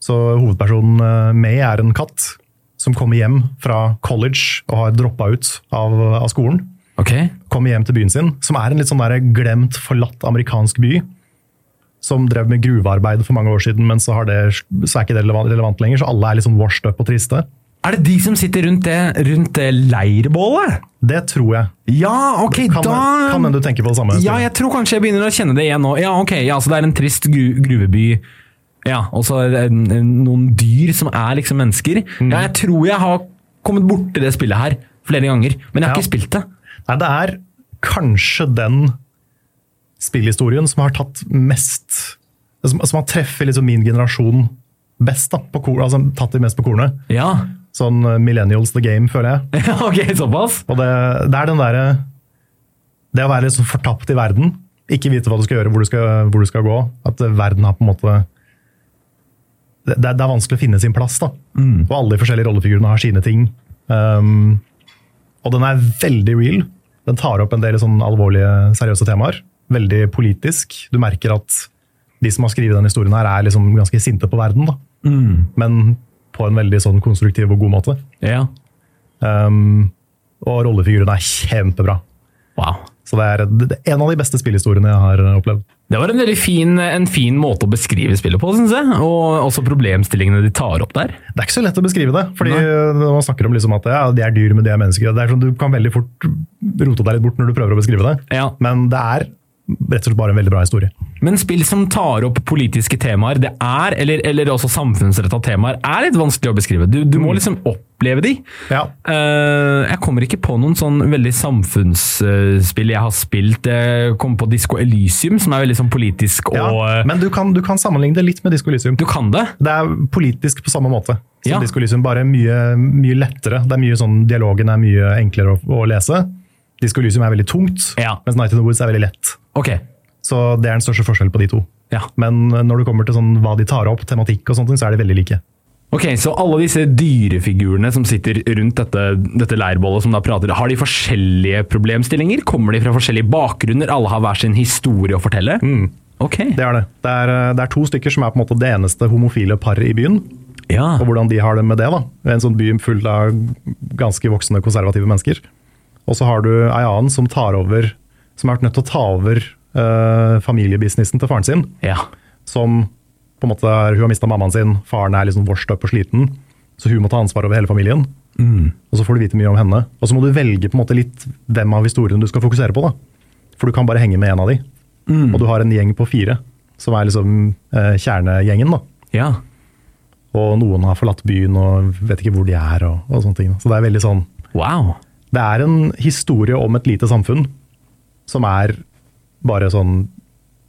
S2: Så hovedpersonen eh, May er en katt som kommer hjem fra college og har droppa ut av, av skolen.
S1: Ok.
S2: Kommer hjem til byen sin, som er en litt sånn der glemt, forlatt amerikansk by. Som drev med gruvearbeid for mange år siden, men så, har det, så er ikke det relevant, relevant lenger. Så alle er litt sånn washed up og triste.
S1: Er det de som sitter rundt det, rundt det leirbålet?
S2: Det tror jeg.
S1: Ja, ok,
S2: Kan,
S1: da
S2: kan hende du tenker på det samme.
S1: Ja, jeg tror kanskje jeg begynner å kjenne det igjen nå. Ja, ok, ja, så det er en trist gru gruveby. Ja, og så er det en- en- noen dyr som er liksom mennesker.
S2: Mm.
S1: Ja, jeg tror jeg har kommet borti det spillet her flere ganger, men jeg har
S2: Ja.
S1: ikke spilt det.
S2: Nei, det er kanskje den spillhistorien som har tatt mest Som, som har treffet liksom min generasjon best, da. På kor, altså tatt de mest på kornet.
S1: Ja,
S2: Sånn eh, millennials the game, føler jeg.
S1: Ja, ok, såpass.
S2: Og det, det er den derre Det å være liksom fortapt i verden. Ikke vite hva du skal gjøre, hvor du skal, hvor du skal gå. At eh, verden har på en måte det, det er- det er vanskelig å finne sin plass, da. Og alle de forskjellige rollefigurene har sine ting. Um, og den er veldig real. Den tar opp en del sånn alvorlige, seriøse temaer. Veldig politisk. Du merker at de som har skrevet denne historien, her er liksom ganske sinte på verden. da. Men på en veldig sånn konstruktiv og god måte.
S1: Ja.
S2: Um, og rollefigurene er kjempebra.
S1: Wow.
S2: Så det er det er en av de beste spillhistoriene jeg har opplevd.
S1: Det var en veldig fin, en fin måte å beskrive spillet på, syns jeg. Og også problemstillingene de tar opp der.
S2: Det er ikke så lett å beskrive det. fordi
S1: Nei.
S2: når Man snakker om liksom at ja, de er dyr, men de er mennesker. Det er sånn, Du kan veldig fort rote deg litt bort når du prøver å beskrive det.
S1: Ja.
S2: Men det er rett og slett bare en veldig bra historie.
S1: Men spill som tar opp politiske temaer, det er, eller, eller også samfunnsretta temaer, er litt vanskelig å beskrive. Du, du
S2: Mm.
S1: må liksom oppleve de.
S2: Ja.
S1: Eh, jeg kommer ikke på noen sånn veldig samfunnsspill jeg har spilt. Jeg kom på Disko Elysium, som er veldig sånn politisk
S2: Ja,
S1: og eh,
S2: men du kan, du kan sammenligne det litt med Disko Elysium.
S1: Du kan det?
S2: Det er politisk på samme måte som
S1: Ja.
S2: Disko Elysium, bare mye, mye lettere. Det er mye sånn, Dialogen er mye enklere å, å lese. Disko Elysium er veldig tungt,
S1: Ja.
S2: mens Night in the Woods er veldig lett.
S1: Ok.
S2: Så det er den største forskjellen på de to.
S1: Ja.
S2: Men når det kommer til sånn, hva de tar opp, tematikk og sånt, så er de veldig like.
S1: Ok, Så alle disse dyrefigurene som sitter rundt dette, dette leirbålet, som da prater, har de forskjellige problemstillinger? Kommer de fra forskjellige bakgrunner? Alle har hver sin historie å fortelle?
S2: Mm.
S1: Ok.
S2: Det er det. Det er, eh, det er to stykker som er på en måte det eneste homofile paret i byen.
S1: Ja.
S2: Og hvordan de har det med det. da. En sånn by full av ganske voksne konservative mennesker. Og så har du ei annen som tar over, som har vært nødt til å ta over eh, familiebusinessen til faren sin.
S1: ja.
S2: Som på en måte, er- Hun har mista mammaen sin, faren er liksom washed up og sliten. Så hun må ta ansvar over hele familien. Og så får du vite mye om henne. Og så må du velge på en måte litt hvem av historiene du skal fokusere på. da. For du kan bare henge med en av de. og du har en gjeng på fire, som er liksom eh, kjernegjengen. da.
S1: Ja.
S2: Og noen har forlatt byen og vet ikke hvor de er. og, og sånne ting. da. Så det er veldig sånn
S1: Wow.
S2: Det er en historie om et lite samfunn som er bare sånn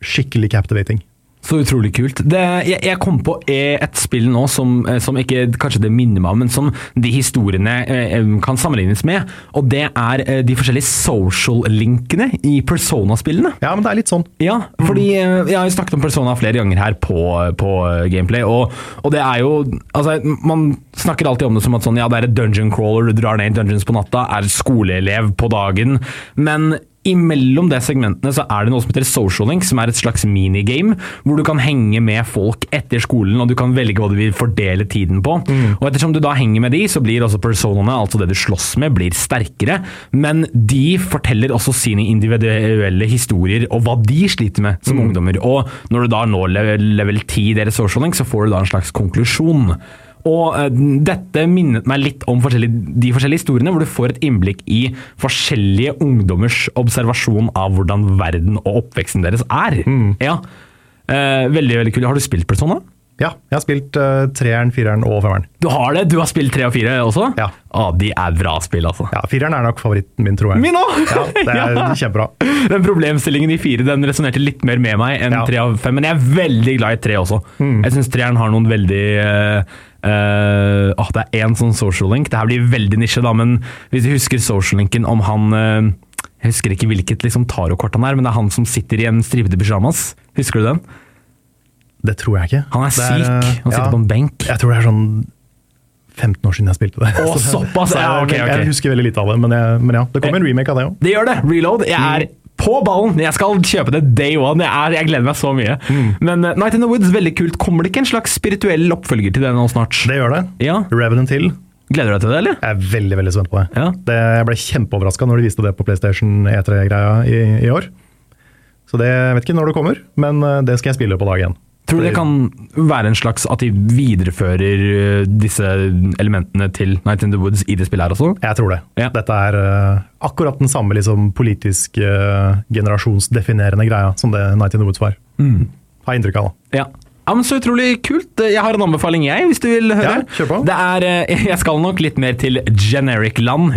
S2: skikkelig captivating.
S1: Så utrolig kult. Det, jeg, jeg kom på eh, et spill nå som, eh, som ikke kanskje det minner meg om, men som de historiene eh, eh, kan sammenlignes med. Og det er eh, de forskjellige social-linkene i Persona-spillene.
S2: Ja, men det er litt sånn.
S1: Ja, fordi eh, jeg har jo snakket om Persona flere ganger her på, på eh, Gameplay, og, og det er jo Altså, man snakker alltid om det som at sånn, ja, det er et dungeon crawler, du drar ned i dungeons på natta, er skoleelev på dagen, men Imellom de segmentene så er det noe som heter social link, som er et slags minigame, hvor du kan henge med folk etter skolen, og du kan velge hva du vil fordele tiden på. Og ettersom du da henger med de, så blir altså personene, altså det du slåss med, blir sterkere, men de forteller også sine individuelle historier og hva de sliter med som
S2: Mm.
S1: ungdommer. Og når du da når le- level 10 i deres social link, så får du da en slags konklusjon. Og eh, dette minnet meg litt om forskjellige, de forskjellige historiene, hvor du får et innblikk i forskjellige ungdommers observasjon av hvordan verden og oppveksten deres er.
S2: Mm.
S1: Ja. Eh, veldig, veldig kult. Har du spilt Persona?
S2: Ja, jeg har spilt eh, treeren, fireren og femmeren.
S1: Du har det! Du har spilt tre og fire også?
S2: Ja.
S1: Å, de er bra spill, altså.
S2: Ja, Fireren er nok favoritten min, tror jeg.
S1: Min òg!
S2: Ja, det er kjempebra.
S1: Den problemstillingen i fire den resonnerte litt mer med meg enn
S2: Ja. Mm.
S1: tre av fem, men jeg er veldig glad i tre også. Jeg syns treeren har noen veldig eh, eh, åh, Det er én sånn social link. Det her blir veldig nisje, da, men hvis du husker social linken om han eh, Jeg husker ikke hvilket liksom, tarotkort han er, men det er han som sitter i en stripete pysjamas. Husker du den?
S2: Det tror jeg ikke.
S1: Han er
S2: Det
S1: syk.
S2: eh,
S1: Han sitter på en benk.
S2: Jeg tror det er sånn 15 år siden jeg spilte det.
S1: Å, såpass!
S2: Så jeg,
S1: Ja, ok, ok.
S2: jeg husker veldig lite av det, men, jeg, men ja. Det kom en remake av det òg.
S1: Det gjør det. Reload. Jeg er
S2: Mm.
S1: på ballen! Jeg skal kjøpe det day one. Jeg, er, jeg gleder meg så mye.
S2: Mm.
S1: Men eh, Night in the Woods, veldig kult. Kommer det ikke en slags spirituell oppfølger til det nå snart?
S2: Det gjør det.
S1: Ja.
S2: Revenant Hill.
S1: Gleder du deg til det, eller?
S2: Jeg er veldig veldig spent på det.
S1: Ja.
S2: det jeg ble kjempeoverraska når de viste det på PlayStation E3-greia i, i år. Så det jeg vet ikke når det kommer, men eh, det skal jeg spille på dag én.
S1: Tror du det kan være en slags at de viderefører eh, disse elementene til Night in the Woods i det spillet her også?
S2: Jeg tror det.
S1: Ja.
S2: Dette er eh, akkurat den samme liksom, politisk eh, generasjonsdefinerende greia som det Night in the Woods var. Har jeg inntrykk av, da.
S1: Ja. ja, men Så utrolig kult. Jeg har en anbefaling, jeg, hvis du vil høre.
S2: Ja, kjør på.
S1: Det er, eh, Jeg skal nok litt mer til generic-land,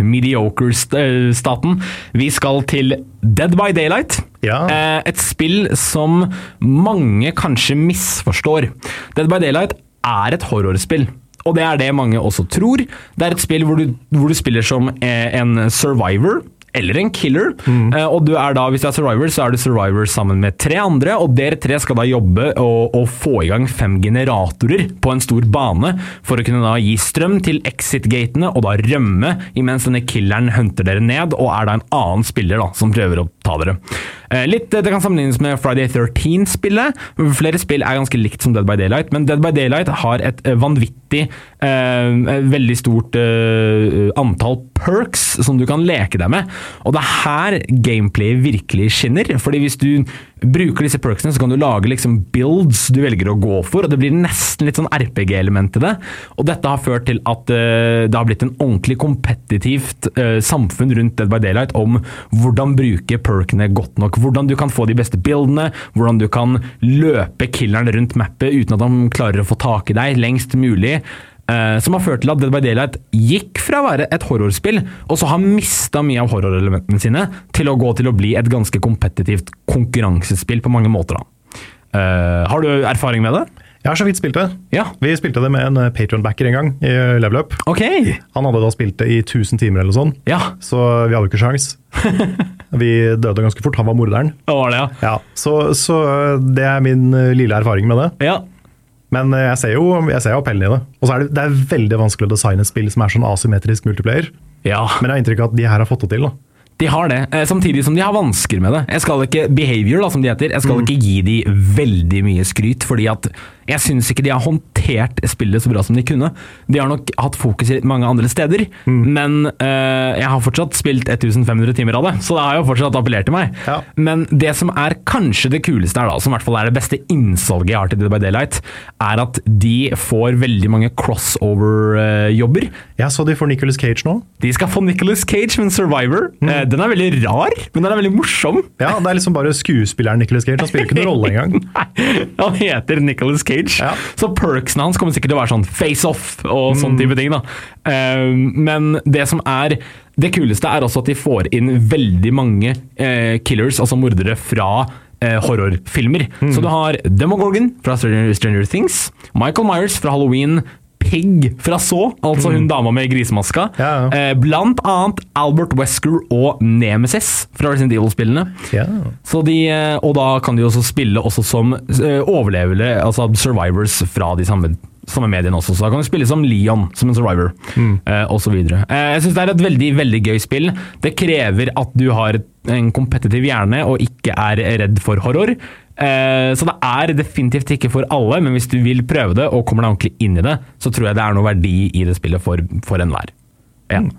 S1: mediocre-staten. eh, Vi skal til Dead by Daylight.
S2: Ja.
S1: Eh, Et spill som mange kanskje misforstår. Dead by Daylight er et horrorspill. Og det er det mange også tror. Det er et spill hvor du, hvor du spiller som eh, en survivor. Eller en killer. Eh, og du er da, hvis du er survivor, så er du survivor sammen med tre andre. Og dere tre skal da jobbe og, og få i gang fem generatorer på en stor bane for å kunne da gi strøm til exit-gatene og da rømme, imens denne killeren hunter dere ned og er da en annen spiller da, som prøver å ta dere. Eh, Litt, eh, Det kan sammenlignes med Friday 13-spillet. Flere spill er ganske likt som Dead by Daylight, men Dead by Daylight har et eh, vanvittig, eh, veldig stort eh, antall perks som du kan leke deg med. Og det er her gameplayet virkelig skinner. fordi hvis du bruker disse perksene, så kan du lage liksom builds du velger å gå for, og det blir nesten litt sånn RPG-element i det. Og dette har ført til at eh, det har blitt en ordentlig kompetitivt eh, samfunn rundt Dead by Daylight om hvordan bruke perkene godt nok. Hvordan du kan få de beste bildene, hvordan du kan løpe killeren rundt mappet uten at han klarer å få tak i deg lengst mulig. eh, som har ført til at Dead by Daylight gikk fra å være et horrorspill, og så har mista mye av horrorelementene sine, til å gå til å bli et ganske kompetitivt konkurransespill på mange måter. da. Eh, har du erfaring med det?
S2: Jeg har så vidt spilt det.
S1: Ja.
S2: Vi spilte det med en patronbacker en gang i Level Up.
S1: Ok!
S2: Han hadde da spilt det i 1000 timer eller noe sånt,
S1: Ja,
S2: så vi hadde jo ikke sjans. Vi døde ganske fort. Han var morderen.
S1: det var det, ja.
S2: Ja, så, så det er min eh, lille erfaring med det.
S1: ja.
S2: Men eh, jeg ser jo, jeg ser jo appellen i det. Og så er det, det er veldig vanskelig å designe et spill som er sånn asymmetrisk multiplayer.
S1: Ja.
S2: Men jeg har inntrykk av at de her har fått det til. da.
S1: De har det, eh, samtidig som de har vansker med det. Jeg skal ikke behavior, da, som de heter, jeg skal ikke gi de veldig mye skryt, fordi at jeg syns ikke de har hånd, håndtert spillet så bra som de kunne. De har nok hatt fokus i mange andre steder, men eh, jeg har fortsatt spilt 1500 timer av det, så det har jo fortsatt appellert til meg.
S2: Ja.
S1: Men det som er kanskje det kuleste her, da, som i hvert fall er det beste innsalget jeg har til Dead by Daylight, er at de får veldig mange eh, crossover-jobber.
S2: Jeg så de for Nicolas Cage nå.
S1: De skal få Nicolas Cage med en Survivor. Eh, den er veldig rar, men den er veldig morsom.
S2: Ja, Det er liksom bare skuespilleren Nicolas Cage. Han spiller ikke noen rolle engang.
S1: Nei, han heter Nicolas Cage.
S2: Ja.
S1: Så perksene hans kommer sikkert til å være sånn face-off og
S2: Mm.
S1: sånne type ting. da. Eh, men det som er det kuleste, er også at de får inn veldig mange eh, killers, altså mordere, fra eh, horrorfilmer.
S2: Mm.
S1: Så du har Demogorgon fra Stranger, Stranger Things, Michael Myers fra Halloween, Pig fra Så, altså hun dama med grisemaska.
S2: Mm. Ja, ja.
S1: eh, blant annet Albert Wesker og Nemesis fra Resident Evil-spillene.
S2: Ja.
S1: Så de, eh, og da kan de også spille også som eh, overlevere, altså survivors fra de samme, samme mediene også. Så da kan de spille som Leon, som en survivor, eh, og så videre. Eh, Jeg syns det er et veldig, veldig gøy spill. Det krever at du har et- en kompetitiv hjerne og ikke er redd for horror. Eh, Så det er definitivt ikke for alle, men hvis du vil prøve det og kommer deg ordentlig inn i det, så tror jeg det er noe verdi i det spillet for, for enhver. Ja. Mm.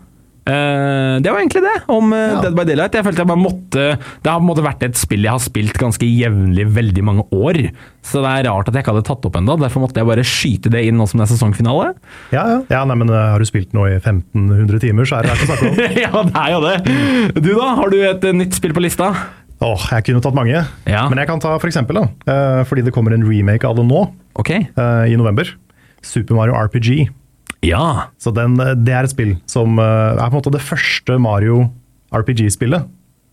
S1: Eh, det var egentlig det om eh,
S2: Ja.
S1: Dead by Daylight. Jeg følte jeg bare måtte Det har på en måte vært et spill jeg har spilt ganske jevnlig veldig mange år. Så det er rart at jeg ikke hadde tatt opp ennå. Derfor måtte jeg bare skyte det inn nå som det er sesongfinale.
S2: Ja, ja. ja nei, men eh, Har du spilt nå i 1500 timer, så er det ikke å snakke om.
S1: ja, det er jo det. Mm. Du da, har du et eh, nytt spill på lista?
S2: Åh, jeg kunne tatt mange.
S1: Ja.
S2: Men jeg kan ta for eksempel, da, eh, fordi det kommer en remake av det nå,
S1: Ok.
S2: eh, i november. Super Mario RPG.
S1: Ja.
S2: Så den, eh, Det er et spill som eh, er på en måte det første Mario RPG-spillet.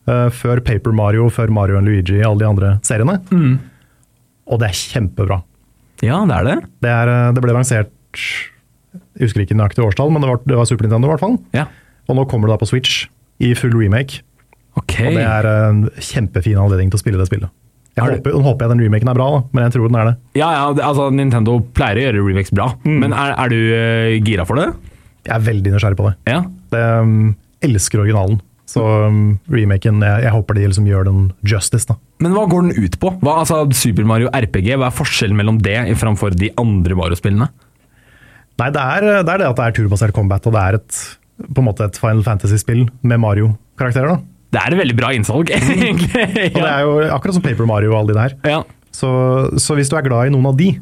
S2: eh, Før Paper Mario, før Mario og Luigi og alle de andre seriene. Og det er kjempebra.
S1: Ja, det er det.
S2: Det, er, eh, det ble lansert Jeg husker ikke nøyaktig årstall, men det var, det var Super Nintendo. I hvert fall.
S1: Ja.
S2: Og nå kommer det da på Switch i full remake.
S1: Ok.
S2: Og det er eh, en kjempefin anledning til å spille det spillet. Jeg
S1: Er det-
S2: håper, nå håper jeg den remaken er bra, da, men jeg tror den er det.
S1: Ja, ja, det- altså Nintendo pleier å gjøre remakes bra, men er, er du eh, gira for det?
S2: Jeg er veldig nysgjerrig på det.
S1: Ja.
S2: det um, elsker originalen. Så um, remaken jeg, jeg håper de liksom gjør den justice, da.
S1: Men hva går den ut på? Hva, altså Super Mario RPG, hva er forskjellen mellom det framfor de andre Mario-spillene?
S2: Nei, det er, det er det at det er turbasert combat, og det er et, på en måte et Final Fantasy-spill med Mario-karakterer. da.
S1: Det er et veldig bra innsalg, egentlig.
S2: Og det
S1: ja.
S2: er jo akkurat som Paper Mario og alle de der.
S1: Ja.
S2: Så, så hvis du er glad i noen av de,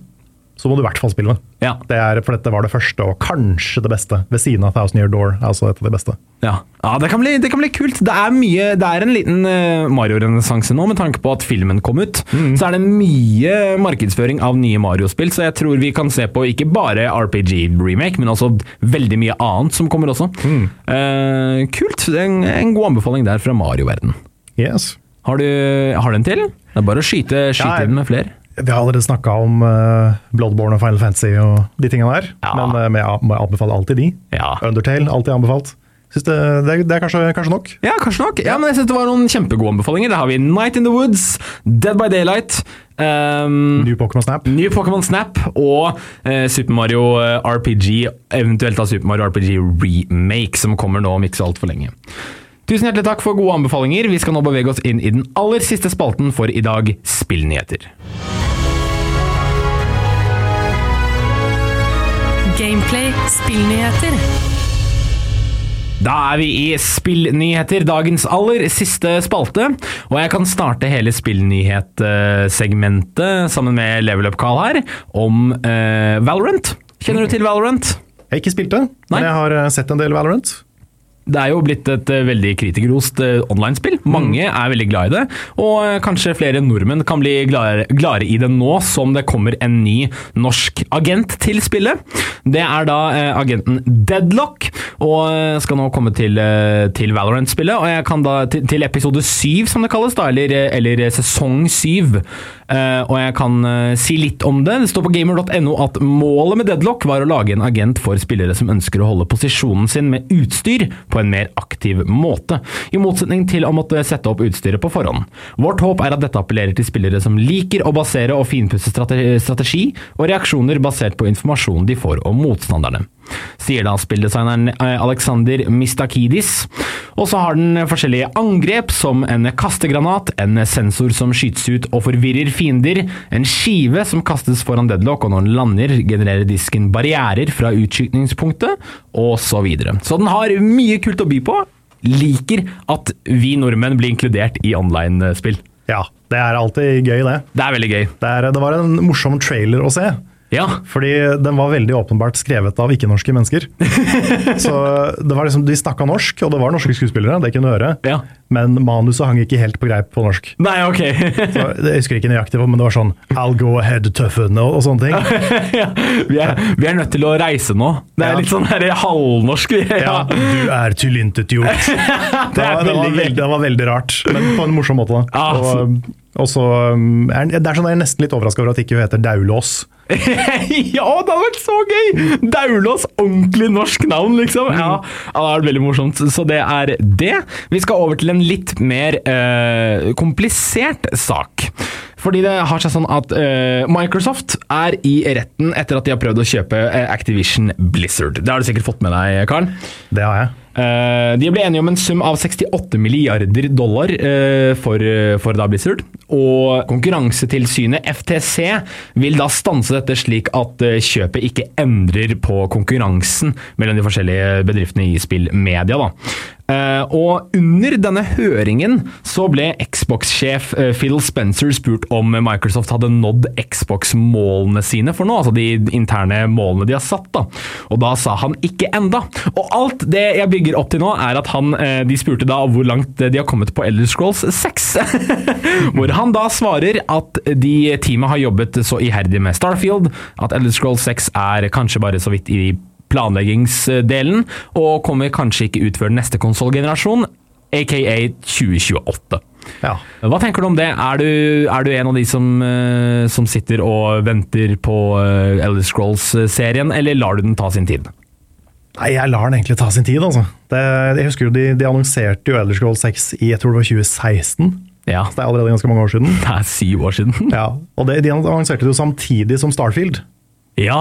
S2: så må du i hvert fall spille det.
S1: Ja.
S2: Det er, for dette var det første, og kanskje det beste, ved siden av Thousand Year Door. er også et av de beste.
S1: Ja, ja det, kan bli, det kan bli kult. Det er, mye, det er en liten eh, Mario-renessanse nå, med tanke på at filmen kom ut.
S2: Mm.
S1: Så er det mye markedsføring av nye Mario-spill, så jeg tror vi kan se på ikke bare RPG-remake, men også veldig mye annet som kommer også.
S2: Mm.
S1: Eh, kult. En, en god anbefaling der fra Mario-verden.
S2: Yes.
S1: Har du, har du en til? Det er bare å skyte,
S2: Ja,
S1: skyte
S2: jeg-
S1: inn med flere.
S2: Vi har allerede snakka om eh, Bloodborne og Final Fantasy og de tinga der,
S1: Ja.
S2: men, eh, men jeg må anbefale alltid de.
S1: Ja.
S2: Undertale, alltid anbefalt. Synes det, det, er, det er kanskje, kanskje nok.
S1: Ja, kanskje nok. Ja, men jeg synes Det var noen kjempegode anbefalinger. Der har vi Night in the Woods, Dead by Daylight, ehm,
S2: New Pokémon Snap.
S1: ny Pokémon Snap og eh, Super Mario eh, RPG, eventuelt da Super Mario RPG Remake, som kommer nå om ikke så altfor lenge. Tusen hjertelig takk for gode anbefalinger. Vi skal nå bevege oss inn i den aller siste spalten for i dag, spillnyheter.
S3: Gameplay, spillnyheter.
S1: Da er vi i Spillnyheter, dagens aller siste spalte. Og jeg kan starte hele spillnyhetssegmentet sammen med Level Up-Carl her, om eh, Valorant. Kjenner du til Valorant?
S2: Jeg har ikke spilt det,
S1: Nei.
S2: men jeg har eh, sett en del Valorant.
S1: Det er jo blitt et eh, veldig kritikerrost eh, online-spill. Mange er veldig glad i det, og eh, kanskje flere nordmenn kan bli gladere, gladere i det nå som det kommer en ny norsk agent til spillet. Det er da eh, agenten Deadlock, og eh, skal nå komme til, eh, til Valorant-spillet. Og jeg kan da til, til episode syv, som det kalles, da, eller, eh, eller eh, sesong syv. Eh, og jeg kan eh, si litt om det. Det står på gamer.no at målet med Deadlock var å lage en agent for spillere som ønsker å holde posisjonen sin med utstyr på en mer aktiv måte, i motsetning til å måtte sette opp utstyret på forhånd. Vårt håp er at dette appellerer til spillere som liker å basere og finpusse strate- strategi og reaksjoner basert på informasjonen de får om motstanderne. sier da spilldesigneren eh, Alexander Mistakidis. Og så har den forskjellige angrep, som en kastegranat, en sensor som skytes ut og forvirrer fiender, en skive som kastes foran deadlock, og når den lander, genererer disken barrierer fra utskytningspunktet, og så videre. Så den har mye kult å by på. Liker at vi nordmenn blir inkludert i online-spill.
S2: Ja, det er alltid gøy, det.
S1: Det er veldig gøy.
S2: Det, er, det var en morsom trailer å se.
S1: Ja.
S2: Fordi den var veldig åpenbart skrevet av ikke-norske mennesker. Så det var liksom, De snakka norsk, og det var norske skuespillere, det kunne du høre.
S1: Ja.
S2: Men manuset hang ikke helt på greip på norsk.
S1: Nei, ok.
S2: Så jeg husker ikke nøyaktig, men det var sånn I'll go ahead, tøffen, og, og sånne ting.
S1: ja. vi, er, vi er nødt til å reise nå. Det er
S2: Ja.
S1: litt sånn her halvnorsk. vi.
S2: Ja,
S1: Ja.
S2: du er tilintetgjort. Det, var- det, var
S1: veldig gøy.
S2: veldig- det var veldig rart, men på en morsom måte. da.
S1: Ja,
S2: og, og så um, er, det er sånn jeg er nesten litt overraska over at det ikke heter Daulås.
S1: ja, det hadde vært så gøy! Daulås, ordentlig norsk navn, liksom.
S2: Mm.
S1: Ja, ja, det hadde vært veldig morsomt. Så det er det. Vi skal over til en litt mer eh, komplisert sak. Fordi det har seg sånn at eh, Microsoft er i retten etter at de har prøvd å kjøpe eh, Activision Blizzard. Det har du sikkert fått med deg, Karen.
S2: Det har jeg.
S1: Eh, de ble enige om en sum av 68 milliarder dollar eh, for, eh, for da Blizzard. Og konkurransetilsynet, FTC, vil da stanse dette slik at eh, kjøpet ikke endrer på konkurransen mellom de forskjellige bedriftene i spillmedia. da. Eh, og under denne høringen så ble Xbox-sjef eh, Phil Spencer spurt om Microsoft hadde nådd Xbox-målene sine for nå, altså de interne målene de har satt. da. Og da sa han ikke enda. Og alt det jeg bygger opp til nå, er at han, eh, de spurte da hvor langt eh, de har kommet på Elder Scrolls 6. hvor han da svarer at de eh, teamet har jobbet så iherdig med Starfield at Elder Scrolls 6 er kanskje bare så vidt i planleggingsdelen, og kommer kanskje ikke ut før neste konsollgenerasjon, aka 2028.
S2: Ja.
S1: Hva tenker du om det? Er du, er du en av de som, eh, som sitter og venter på eh, Elder Scrolls-serien, eller lar du den ta sin tid?
S2: Nei, jeg lar den egentlig ta sin tid, altså. Det, jeg husker jo de, de annonserte jo Elder Scrolls 6 i jeg tror det var 2016.
S1: Ja,
S2: Så det er allerede ganske mange år siden.
S1: det er syv år siden.
S2: Ja, og det, De annonserte det jo samtidig som Starfield.
S1: Ja,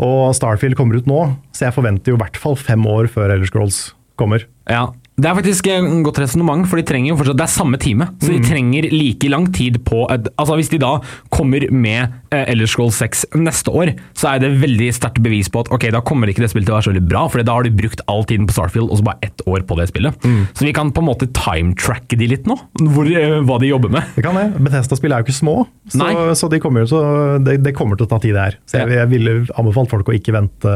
S2: Og Starfield kommer ut nå, så jeg forventer jo i hvert fall fem år før Elder Scrolls kommer.
S1: ja. Det er faktisk et godt resonnement, for de trenger jo fortsatt, det er samme time. Så de trenger like lang tid på et, altså Hvis de da kommer med eh, Elder Scrolls 6 neste år, så er det veldig sterkt bevis på at ok, da kommer ikke det spillet til å være så veldig bra, for da har de brukt all tiden på Starfield og så bare ett år på det spillet. Så vi kan på en måte timetracke de litt nå, hvor, eh, hva de jobber med.
S2: Det kan det. Bethesda-spill er jo ikke små, så,
S1: Nei.
S2: så, de kommer, jo- så det, det kommer til å ta tid, det her. Så jeg,
S1: Ja.
S2: jeg ville anbefalt folk å ikke vente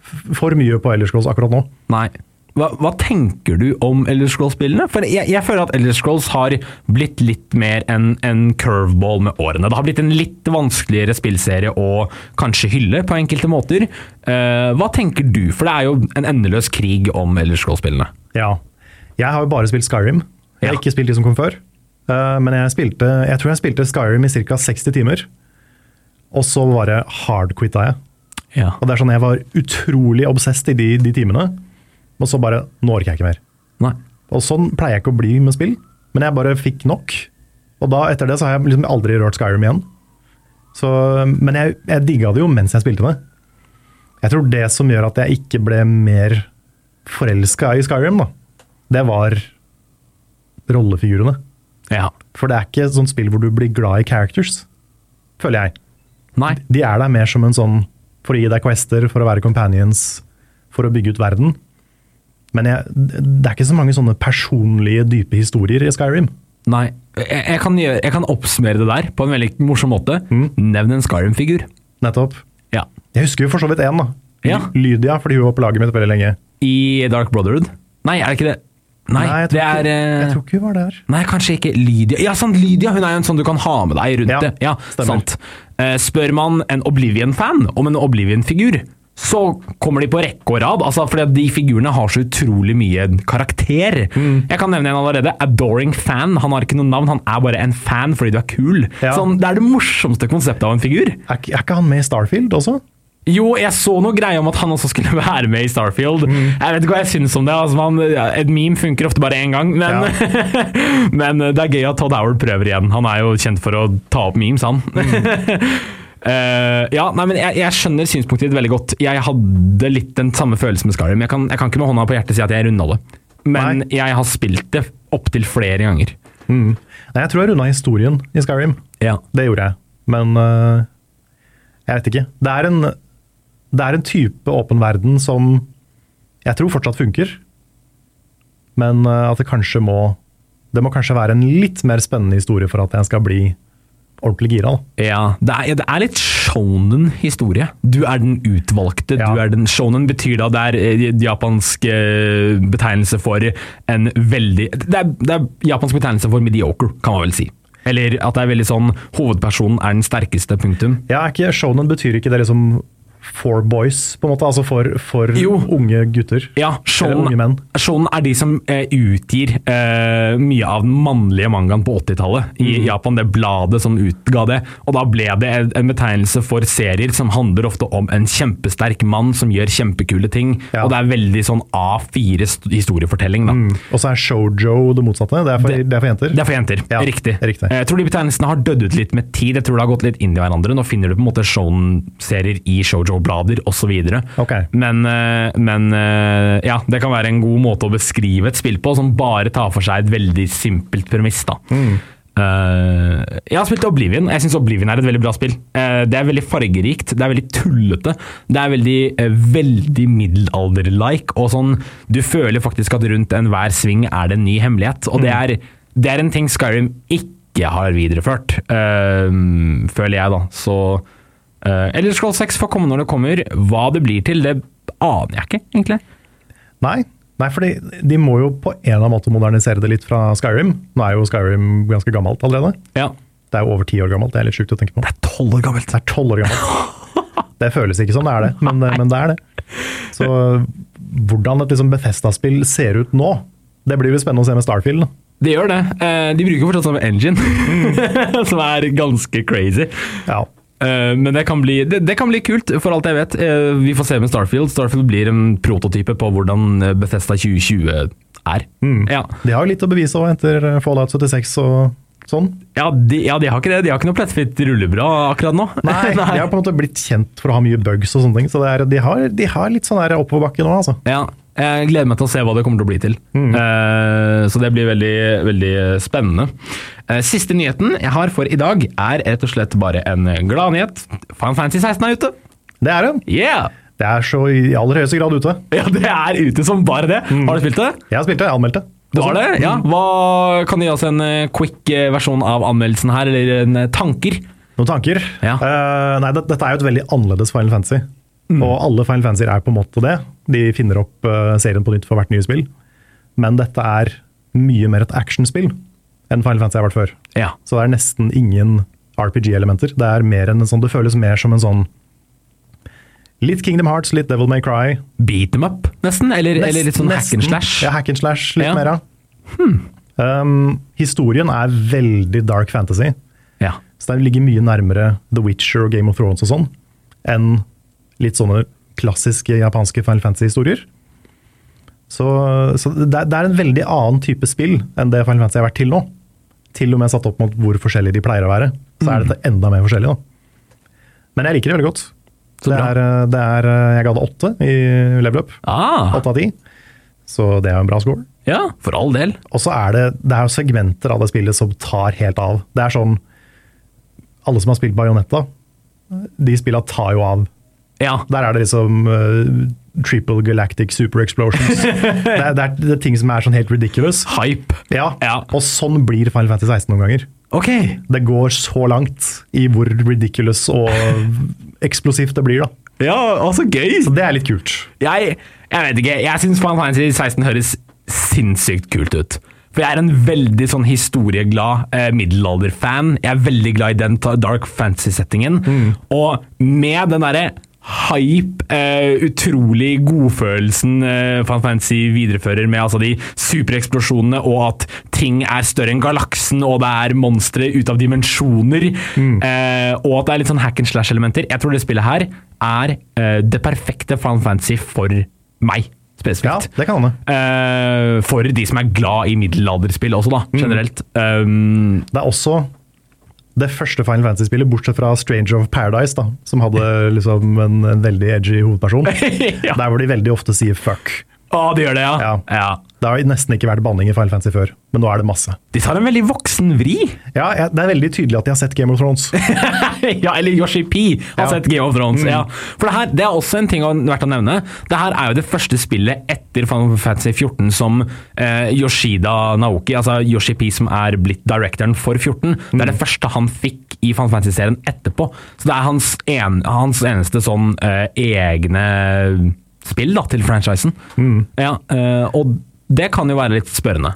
S2: f- for mye på Elder Scrolls akkurat nå.
S1: Nei. Hva, hva tenker du om Elder Scrolls-spillene? For jeg, jeg føler at Elder Scrolls har blitt litt mer enn en curveball med årene. Det har blitt en litt vanskeligere spillserie å kanskje hylle på enkelte måter. Eh, hva tenker du? For det er jo en endeløs krig om Elder Scrolls-spillene.
S2: Ja. Jeg har jo bare spilt Skyrim. Jeg har
S1: Ja.
S2: ikke spilt de som kom før. Eh, men jeg, spilte, jeg tror jeg spilte Skyrim i ca. 60 timer. Og så bare hardquitta jeg.
S1: Ja.
S2: Og det er sånn Jeg var utrolig obsessed i de, de timene. Og så bare Nå orker jeg ikke mer.
S1: Nei.
S2: Og sånn pleier jeg ikke å bli med spill, men jeg bare fikk nok. Og da, etter det så har jeg liksom aldri rørt Skyrim igjen. Så, men jeg, jeg digga det jo mens jeg spilte det. Jeg tror det som gjør at jeg ikke ble mer forelska i Skyrim, da, det var rollefigurene.
S1: Ja.
S2: For det er ikke et sånt spill hvor du blir glad i characters, føler jeg.
S1: Nei.
S2: De er der mer som en sånn for å gi deg quester, for å være companions, for å bygge ut verden. Men jeg, det er ikke så mange sånne personlige, dype historier i Skyrim.
S1: Nei. Jeg, jeg, kan gjøre, jeg kan oppsummere det der på en veldig morsom måte.
S2: Mm.
S1: Nevn en Skyrim-figur.
S2: Nettopp.
S1: Ja.
S2: Jeg husker jo for så vidt én, da.
S1: Ja.
S2: Lydia, fordi hun var på laget mitt veldig lenge.
S1: I Dark Brotherhood. Nei, er det ikke det? Nei,
S2: jeg tror,
S1: det er
S2: ikke,
S1: eh,
S2: jeg tror ikke hun var der.
S1: Nei, kanskje ikke Lydia. Ja, sant, Lydia hun er jo en sånn du kan ha med deg rundt
S2: Ja,
S1: det. Ja,
S2: stemmer.
S1: sant. Eh, Spør man en Oblivion-fan om en Oblivion-figur, så kommer de på rekke og rad. Altså, fordi at de figurene har så utrolig mye karakter.
S2: Mm.
S1: Jeg kan nevne en allerede. Adoring Fan. Han har ikke noe navn, han er bare en fan fordi du er kul.
S2: Ja.
S1: Sånn, det er det morsomste konseptet av en figur.
S2: Er, ikke- er ikke han med i Starfield også?
S1: Jo, jeg så noe greie om at han også skulle være med i Starfield.
S2: Mm.
S1: Jeg vet ikke hva jeg syns om det. Altså, man, ja, et meme funker ofte bare én gang, men, eh, men det er gøy at Todd Howard prøver igjen. Han er jo kjent for å ta opp memes, han. Eh, ja, nei, men jeg, jeg skjønner synspunktet ditt veldig godt. Jeg hadde litt den samme følelsen med Skyrim. Jeg kan, jeg kan ikke med hånda på hjertet si at jeg runda det, men
S2: Nei.
S1: jeg har spilt det opptil flere ganger.
S2: Nei, jeg tror jeg runda historien i Skyrim.
S1: Ja.
S2: Det gjorde jeg. Men øh, jeg vet ikke. Det er, en, det er en type åpen verden som jeg tror fortsatt funker. Men øh, at det kanskje må Det må kanskje være en litt mer spennende historie for at jeg skal bli ordentlig gira. da.
S1: Ja, det er, det er litt shonen-historie. Du er den utvalgte.
S2: Ja.
S1: du er den Shonen betyr da det er eh, japansk eh, betegnelse for en veldig det er, det er japansk betegnelse for mediocre, kan man vel si. Eller at det er veldig sånn Hovedpersonen er den sterkeste, punktum.
S2: Ja, er ikke, Shonen betyr ikke det liksom for boys, på en måte? Altså for, for
S1: Jo.
S2: unge gutter?
S1: Ja,
S2: Eller unge
S1: Shonen,
S2: menn.
S1: shonen er de som eh, utgir eh, mye av den mannlige mangaen på 80-tallet i
S2: Mm.
S1: Japan. Det bladet som utga det. Og da ble det en, en betegnelse for serier som handler ofte om en kjempesterk mann som gjør kjempekule ting.
S2: Ja. Mm.
S1: Og det er veldig sånn A4 st- historiefortelling, da.
S2: Og så er shojo det motsatte. Det er for, det, er for jenter.
S1: Det er for jenter.
S2: Ja,
S1: riktig.
S2: riktig.
S1: Eh, Jeg tror de betegnelsene har dødd ut litt med tid. Jeg tror det har gått litt inn i hverandre. Nå finner du på en måte shonen-serier i shoujo-blader osv.
S2: Ok.
S1: Men, eh, men eh, ja, det kan være en god måte å beskrive et spill på, som bare tar for seg et veldig simpelt premiss. da. Eh, jeg har spilt Oblivion. Jeg syns Oblivion er et veldig bra spill. Eh, det er veldig fargerikt, det er veldig tullete. Det er veldig, eh, veldig middelalder-like. og sånn, Du føler faktisk at rundt enhver sving er det en ny hemmelighet. og det er, det er en ting Skyrim ikke har videreført, eh, føler jeg, da. Så uh, Eller Scroll 6 får komme når det kommer. Hva det blir til, det aner jeg ikke, egentlig.
S2: Nei, nei for de må jo på en eller annen måte modernisere det litt fra Skyrim. Nå er jo Skyrim ganske gammelt allerede.
S1: Ja.
S2: Det er jo over ti år gammelt, det er litt sjukt å tenke på. Det
S1: Tolv år gammelt.
S2: er tolv år gammelt. Det føles ikke som det er det, men, eh, men det er det. Så hvordan et liksom Bethesda-spill ser ut nå, det blir jo spennende å se med Starfield. da.
S1: Det gjør det. Eh, de bruker fortsatt samme engine, som er ganske crazy.
S2: Ja.
S1: Eh, men det kan, bli, det, det kan bli kult, for alt jeg vet. Eh, vi får se med Starfield. Starfield blir en prototype på hvordan eh, Bethesda 2020 er.
S2: Mm.
S1: Ja.
S2: De har jo litt å bevise også etter eh, Fallout 76 og sånn.
S1: Ja, de, ja, de har ikke det. De har ikke noe plettfritt rullebrad akkurat nå.
S2: Nei, De har på en måte blitt kjent for å ha mye bugs og sånne ting, så det er, de, har, de har litt sånn der oppoverbakke nå, altså.
S1: Ja, jeg gleder meg til å se hva det kommer til å bli til. Eh, så det blir veldig, veldig spennende. Eh, siste nyheten jeg har for i dag, er rett og slett bare en gladnyhet. Fan Fancy 16 er ute!
S2: Det er det.
S1: Yeah!
S2: Det er så i aller høyeste grad ute.
S1: Ja, det er ute som bare det. Har du spilt det?
S2: Jeg har spilt det, jeg anmeldte. Mm.
S1: Du har Mm. det? Ja. Hva, kan du gi oss en eh, quick eh, versjon av anmeldelsen her, eller en eh, tanker?
S2: Noen tanker?
S1: Ja.
S2: Eh, nei, det, dette er jo et veldig annerledes Final Fantasy.
S1: Mm.
S2: Og alle Final Fantasy er på en måte det. De finner opp eh, serien på nytt for hvert nye spill. Men dette er mye mer et actionspill enn Final Fantasy har vært før.
S1: Ja.
S2: Så det er nesten ingen RPG-elementer. Det er mer enn en sånn, det føles mer som en sånn Litt Kingdom Hearts, litt Devil May Cry.
S1: Beat them up, nesten? Eller, eller litt sånn hack and
S2: nesten.
S1: slash?
S2: Ja, hack and slash, litt
S1: Ja. Hmm.
S2: mer, ja. Um, historien er veldig dark fantasy.
S1: Ja.
S2: Så det ligger mye nærmere The Witcher og Game of Thrones og sånn, enn litt sånne klassiske japanske Final Fantasy-historier. Så, så det, er- det er en veldig annen type spill enn det Final Fantasy har vært til nå. Til og med satt opp mot hvor forskjellige de pleier å være, så er dette enda mer forskjellig. da. Men jeg liker det veldig godt.
S1: Så
S2: Det
S1: bra.
S2: er, eh, det er, jeg ga det åtte i level up.
S1: Ah,
S2: Åtte av ti. Så det er jo en bra score.
S1: ja, for all del.
S2: Og så er det, det er jo segmenter av det spillet som tar helt av. Det er sånn Alle som har spilt Bajonetta, de spillene tar jo av.
S1: Ja.
S2: Der er det liksom eh, triple galactic super explosions. det, er, det, er, det er ting som er sånn helt ridiculous.
S1: Hype.
S2: Ja,
S1: Ja.
S2: Og sånn blir Final Fantasy 16 noen ganger.
S1: Ok.
S2: Det går så langt i hvor ridiculous og eksplosivt det blir, da.
S1: Ja, altså gøy!
S2: Det er litt kult.
S1: Jeg, jeg vet ikke. Jeg syns Final Fantasy 16 høres sinnssykt kult ut. For jeg er en veldig sånn historieglad eh, middelalderfan. Jeg er veldig glad i den ta- dark fantasy-settingen. Og med den derre hype, eh, utrolig godfølelsen eh, Final Fantasy viderefører med altså de supereksplosjonene, og at ting er større enn galaksen, og det er monstre ut av dimensjoner,
S2: Mm.
S1: eh, og at det er litt sånn hack and slash-elementer. Jeg tror det spillet her er eh, det perfekte Final Fantasy for meg,
S2: Ja,
S1: spesifikt.
S2: det kan hende.
S1: Eh,
S2: Mm.
S1: for de som er glad i middelalderspill også, da, generelt. Um,
S2: Det er også det første Final Fantasy-spillet, bortsett fra Stranger of Paradise, da, som hadde liksom en, en veldig edgy hovedperson.
S1: Ja.
S2: Der hvor de veldig ofte sier fuck.
S1: Å, de gjør det, ja.
S2: Ja.
S1: Ja.
S2: Det har nesten ikke vært banning i Final Fantasy før, men nå er det masse.
S1: De tar en veldig voksen vri.
S2: Ja, jeg, Det er veldig tydelig at de har sett Game of Thrones.
S1: ja, eller Yoshi P har
S2: Ja.
S1: sett Game of Thrones. Ja. For det her det er også en ting å- verdt å nevne. Det her er jo det første spillet etter Final Fantasy 14 som eh, Yoshida Naoki, altså Yoshi P som er blitt directoren for 14, det er det første han fikk i Final Fantasy-serien etterpå. Så det er hans, en, hans eneste sånn eh, egne spill da, til franchisen. Ja, eh, og det kan jo være litt spørrende.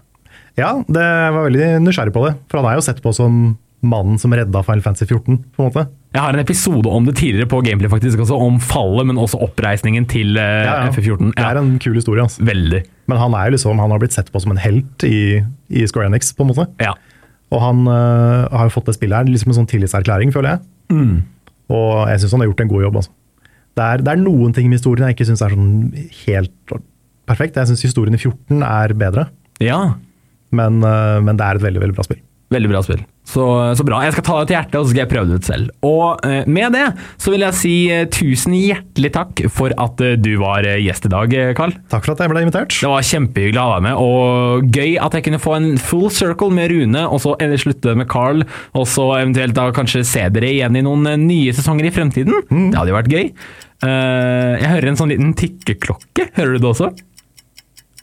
S2: Ja, det jeg var veldig nysgjerrig på det, for han er jo sett på som mannen som redda Final Fantasy 14, på en måte.
S1: Jeg har en episode om det tidligere på Gameplay, faktisk, også om fallet, men også oppreisningen til eh, FF14.
S2: Det
S1: Ja,
S2: er en kul historie, altså.
S1: Veldig.
S2: Men han er jo liksom, han har blitt sett på som en helt i, i Square Enix, på en måte.
S1: Ja.
S2: Og han øh, har jo fått det spillet her liksom en sånn tillitserklæring, føler jeg. Og jeg syns han har gjort en god jobb, altså. Det er, det er noen ting med historien jeg ikke syns er sånn helt perfekt. Jeg syns historien i 14 er bedre,
S1: ja.
S2: men, øh, men det er et veldig, veldig bra spill.
S1: Veldig bra spill. Så, så bra. Jeg skal ta det til hjertet, og så skal jeg prøve det ut selv. Og eh, med det så vil jeg si eh, tusen hjertelig takk for at eh, du var eh, gjest i dag, eh, Carl.
S2: Takk for at jeg ble invitert.
S1: Det var kjempehyggelig å ha deg med, og gøy at jeg kunne få en full circle med Rune, og så endelig slutte med Carl, og så eventuelt da kanskje se dere igjen i noen eh, nye sesonger i fremtiden. Det hadde jo vært gøy. Eh, jeg hører en sånn liten tikkeklokke, hører du det også?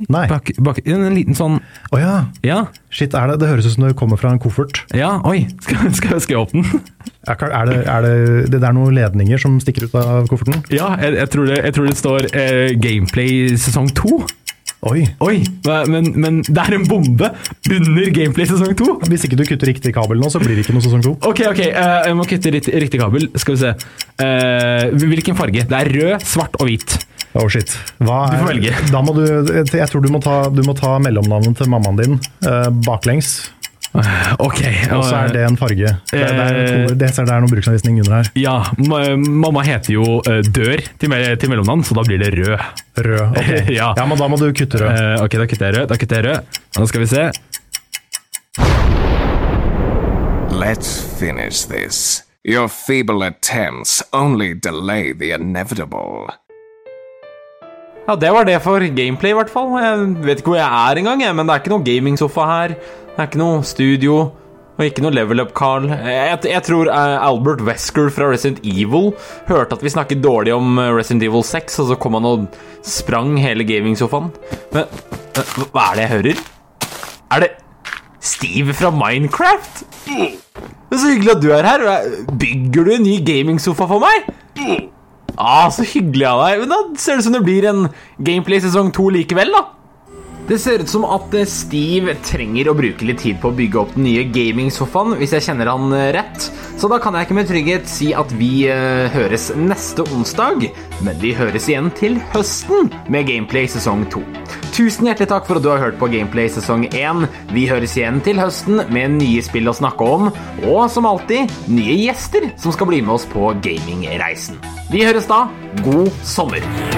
S2: Nei.
S1: Bak, bak, en liten sånn,
S2: Å ja.
S1: ja,
S2: Shit, er det, det høres ut som det kommer fra en koffert.
S1: ja, oi, skal, skal, skal jeg åpne den?
S2: Er, er det, er det, det der er noen ledninger som stikker ut av kofferten?
S1: Ja, jeg, jeg, tror det, jeg tror det står eh, Gameplay sesong 2.
S2: Oi.
S1: Oi, men, men det er en bombe under Gameplay sesong 2.
S2: Hvis ikke du kutter riktig kabel nå, så blir det ikke noe sesong to.
S1: Ok, ok, eh, jeg må kutte riktig, riktig kabel. Skal vi se. Eh, hvilken farge? Det er rød, svart og hvit.
S2: Oh shit. Hva
S1: Du får
S2: er-
S1: velge.
S2: Da må du, jeg tror du må ta, du må ta mellomnavnet til mammaen din eh, baklengs,
S1: Ok.
S2: og så er det en farge. Det, det, er,
S1: eh,
S2: to- det, så er det er noen bruksanvisning under her.
S1: Ja, ma- eh, mamma heter jo eh, Dør til, me til mellomnavn, så da blir det rød.
S2: Rød. ok.
S1: Ja.
S2: ja, men da må du kutte rød.
S1: Eh, ok, da kutter jeg rød. Da kutter jeg rød. Nå skal vi se.
S4: Let's finish this. Your feeble attempts only delay the inevitable.
S5: Ja, det var det for gameplay, i hvert fall. Jeg vet ikke hvor jeg er engang, jeg, men det er ikke noe gamingsofa her. Det er ikke noe studio, og ikke noe level up, Carl. Jeg, jeg tror eh, Albert Wesker fra Resident Evil hørte at vi snakket dårlig om eh, Resident Evil 6, og så kom han og sprang hele gamingsofaen. Men eh, hva- hva er det jeg hører? Er det Steve fra Minecraft? Det er så hyggelig at du er her. Bygger du en ny gamingsofa for meg? Ah, så hyggelig av deg. Men da ser det ut som det blir en gameplay sesong to likevel, da. Det ser ut som at eh, Steve trenger å bruke litt tid på å bygge opp den nye gamingsofaen, hvis jeg kjenner han eh, rett. Så da kan jeg ikke med trygghet si at vi eh, høres neste onsdag, men vi høres igjen til høsten med Gameplay sesong 2. Tusen hjertelig takk for at du har hørt på Gameplay sesong 1. Vi høres igjen til høsten med nye spill å snakke om, og som alltid nye gjester som skal bli med oss på gamingreisen. Vi høres da. God sommer.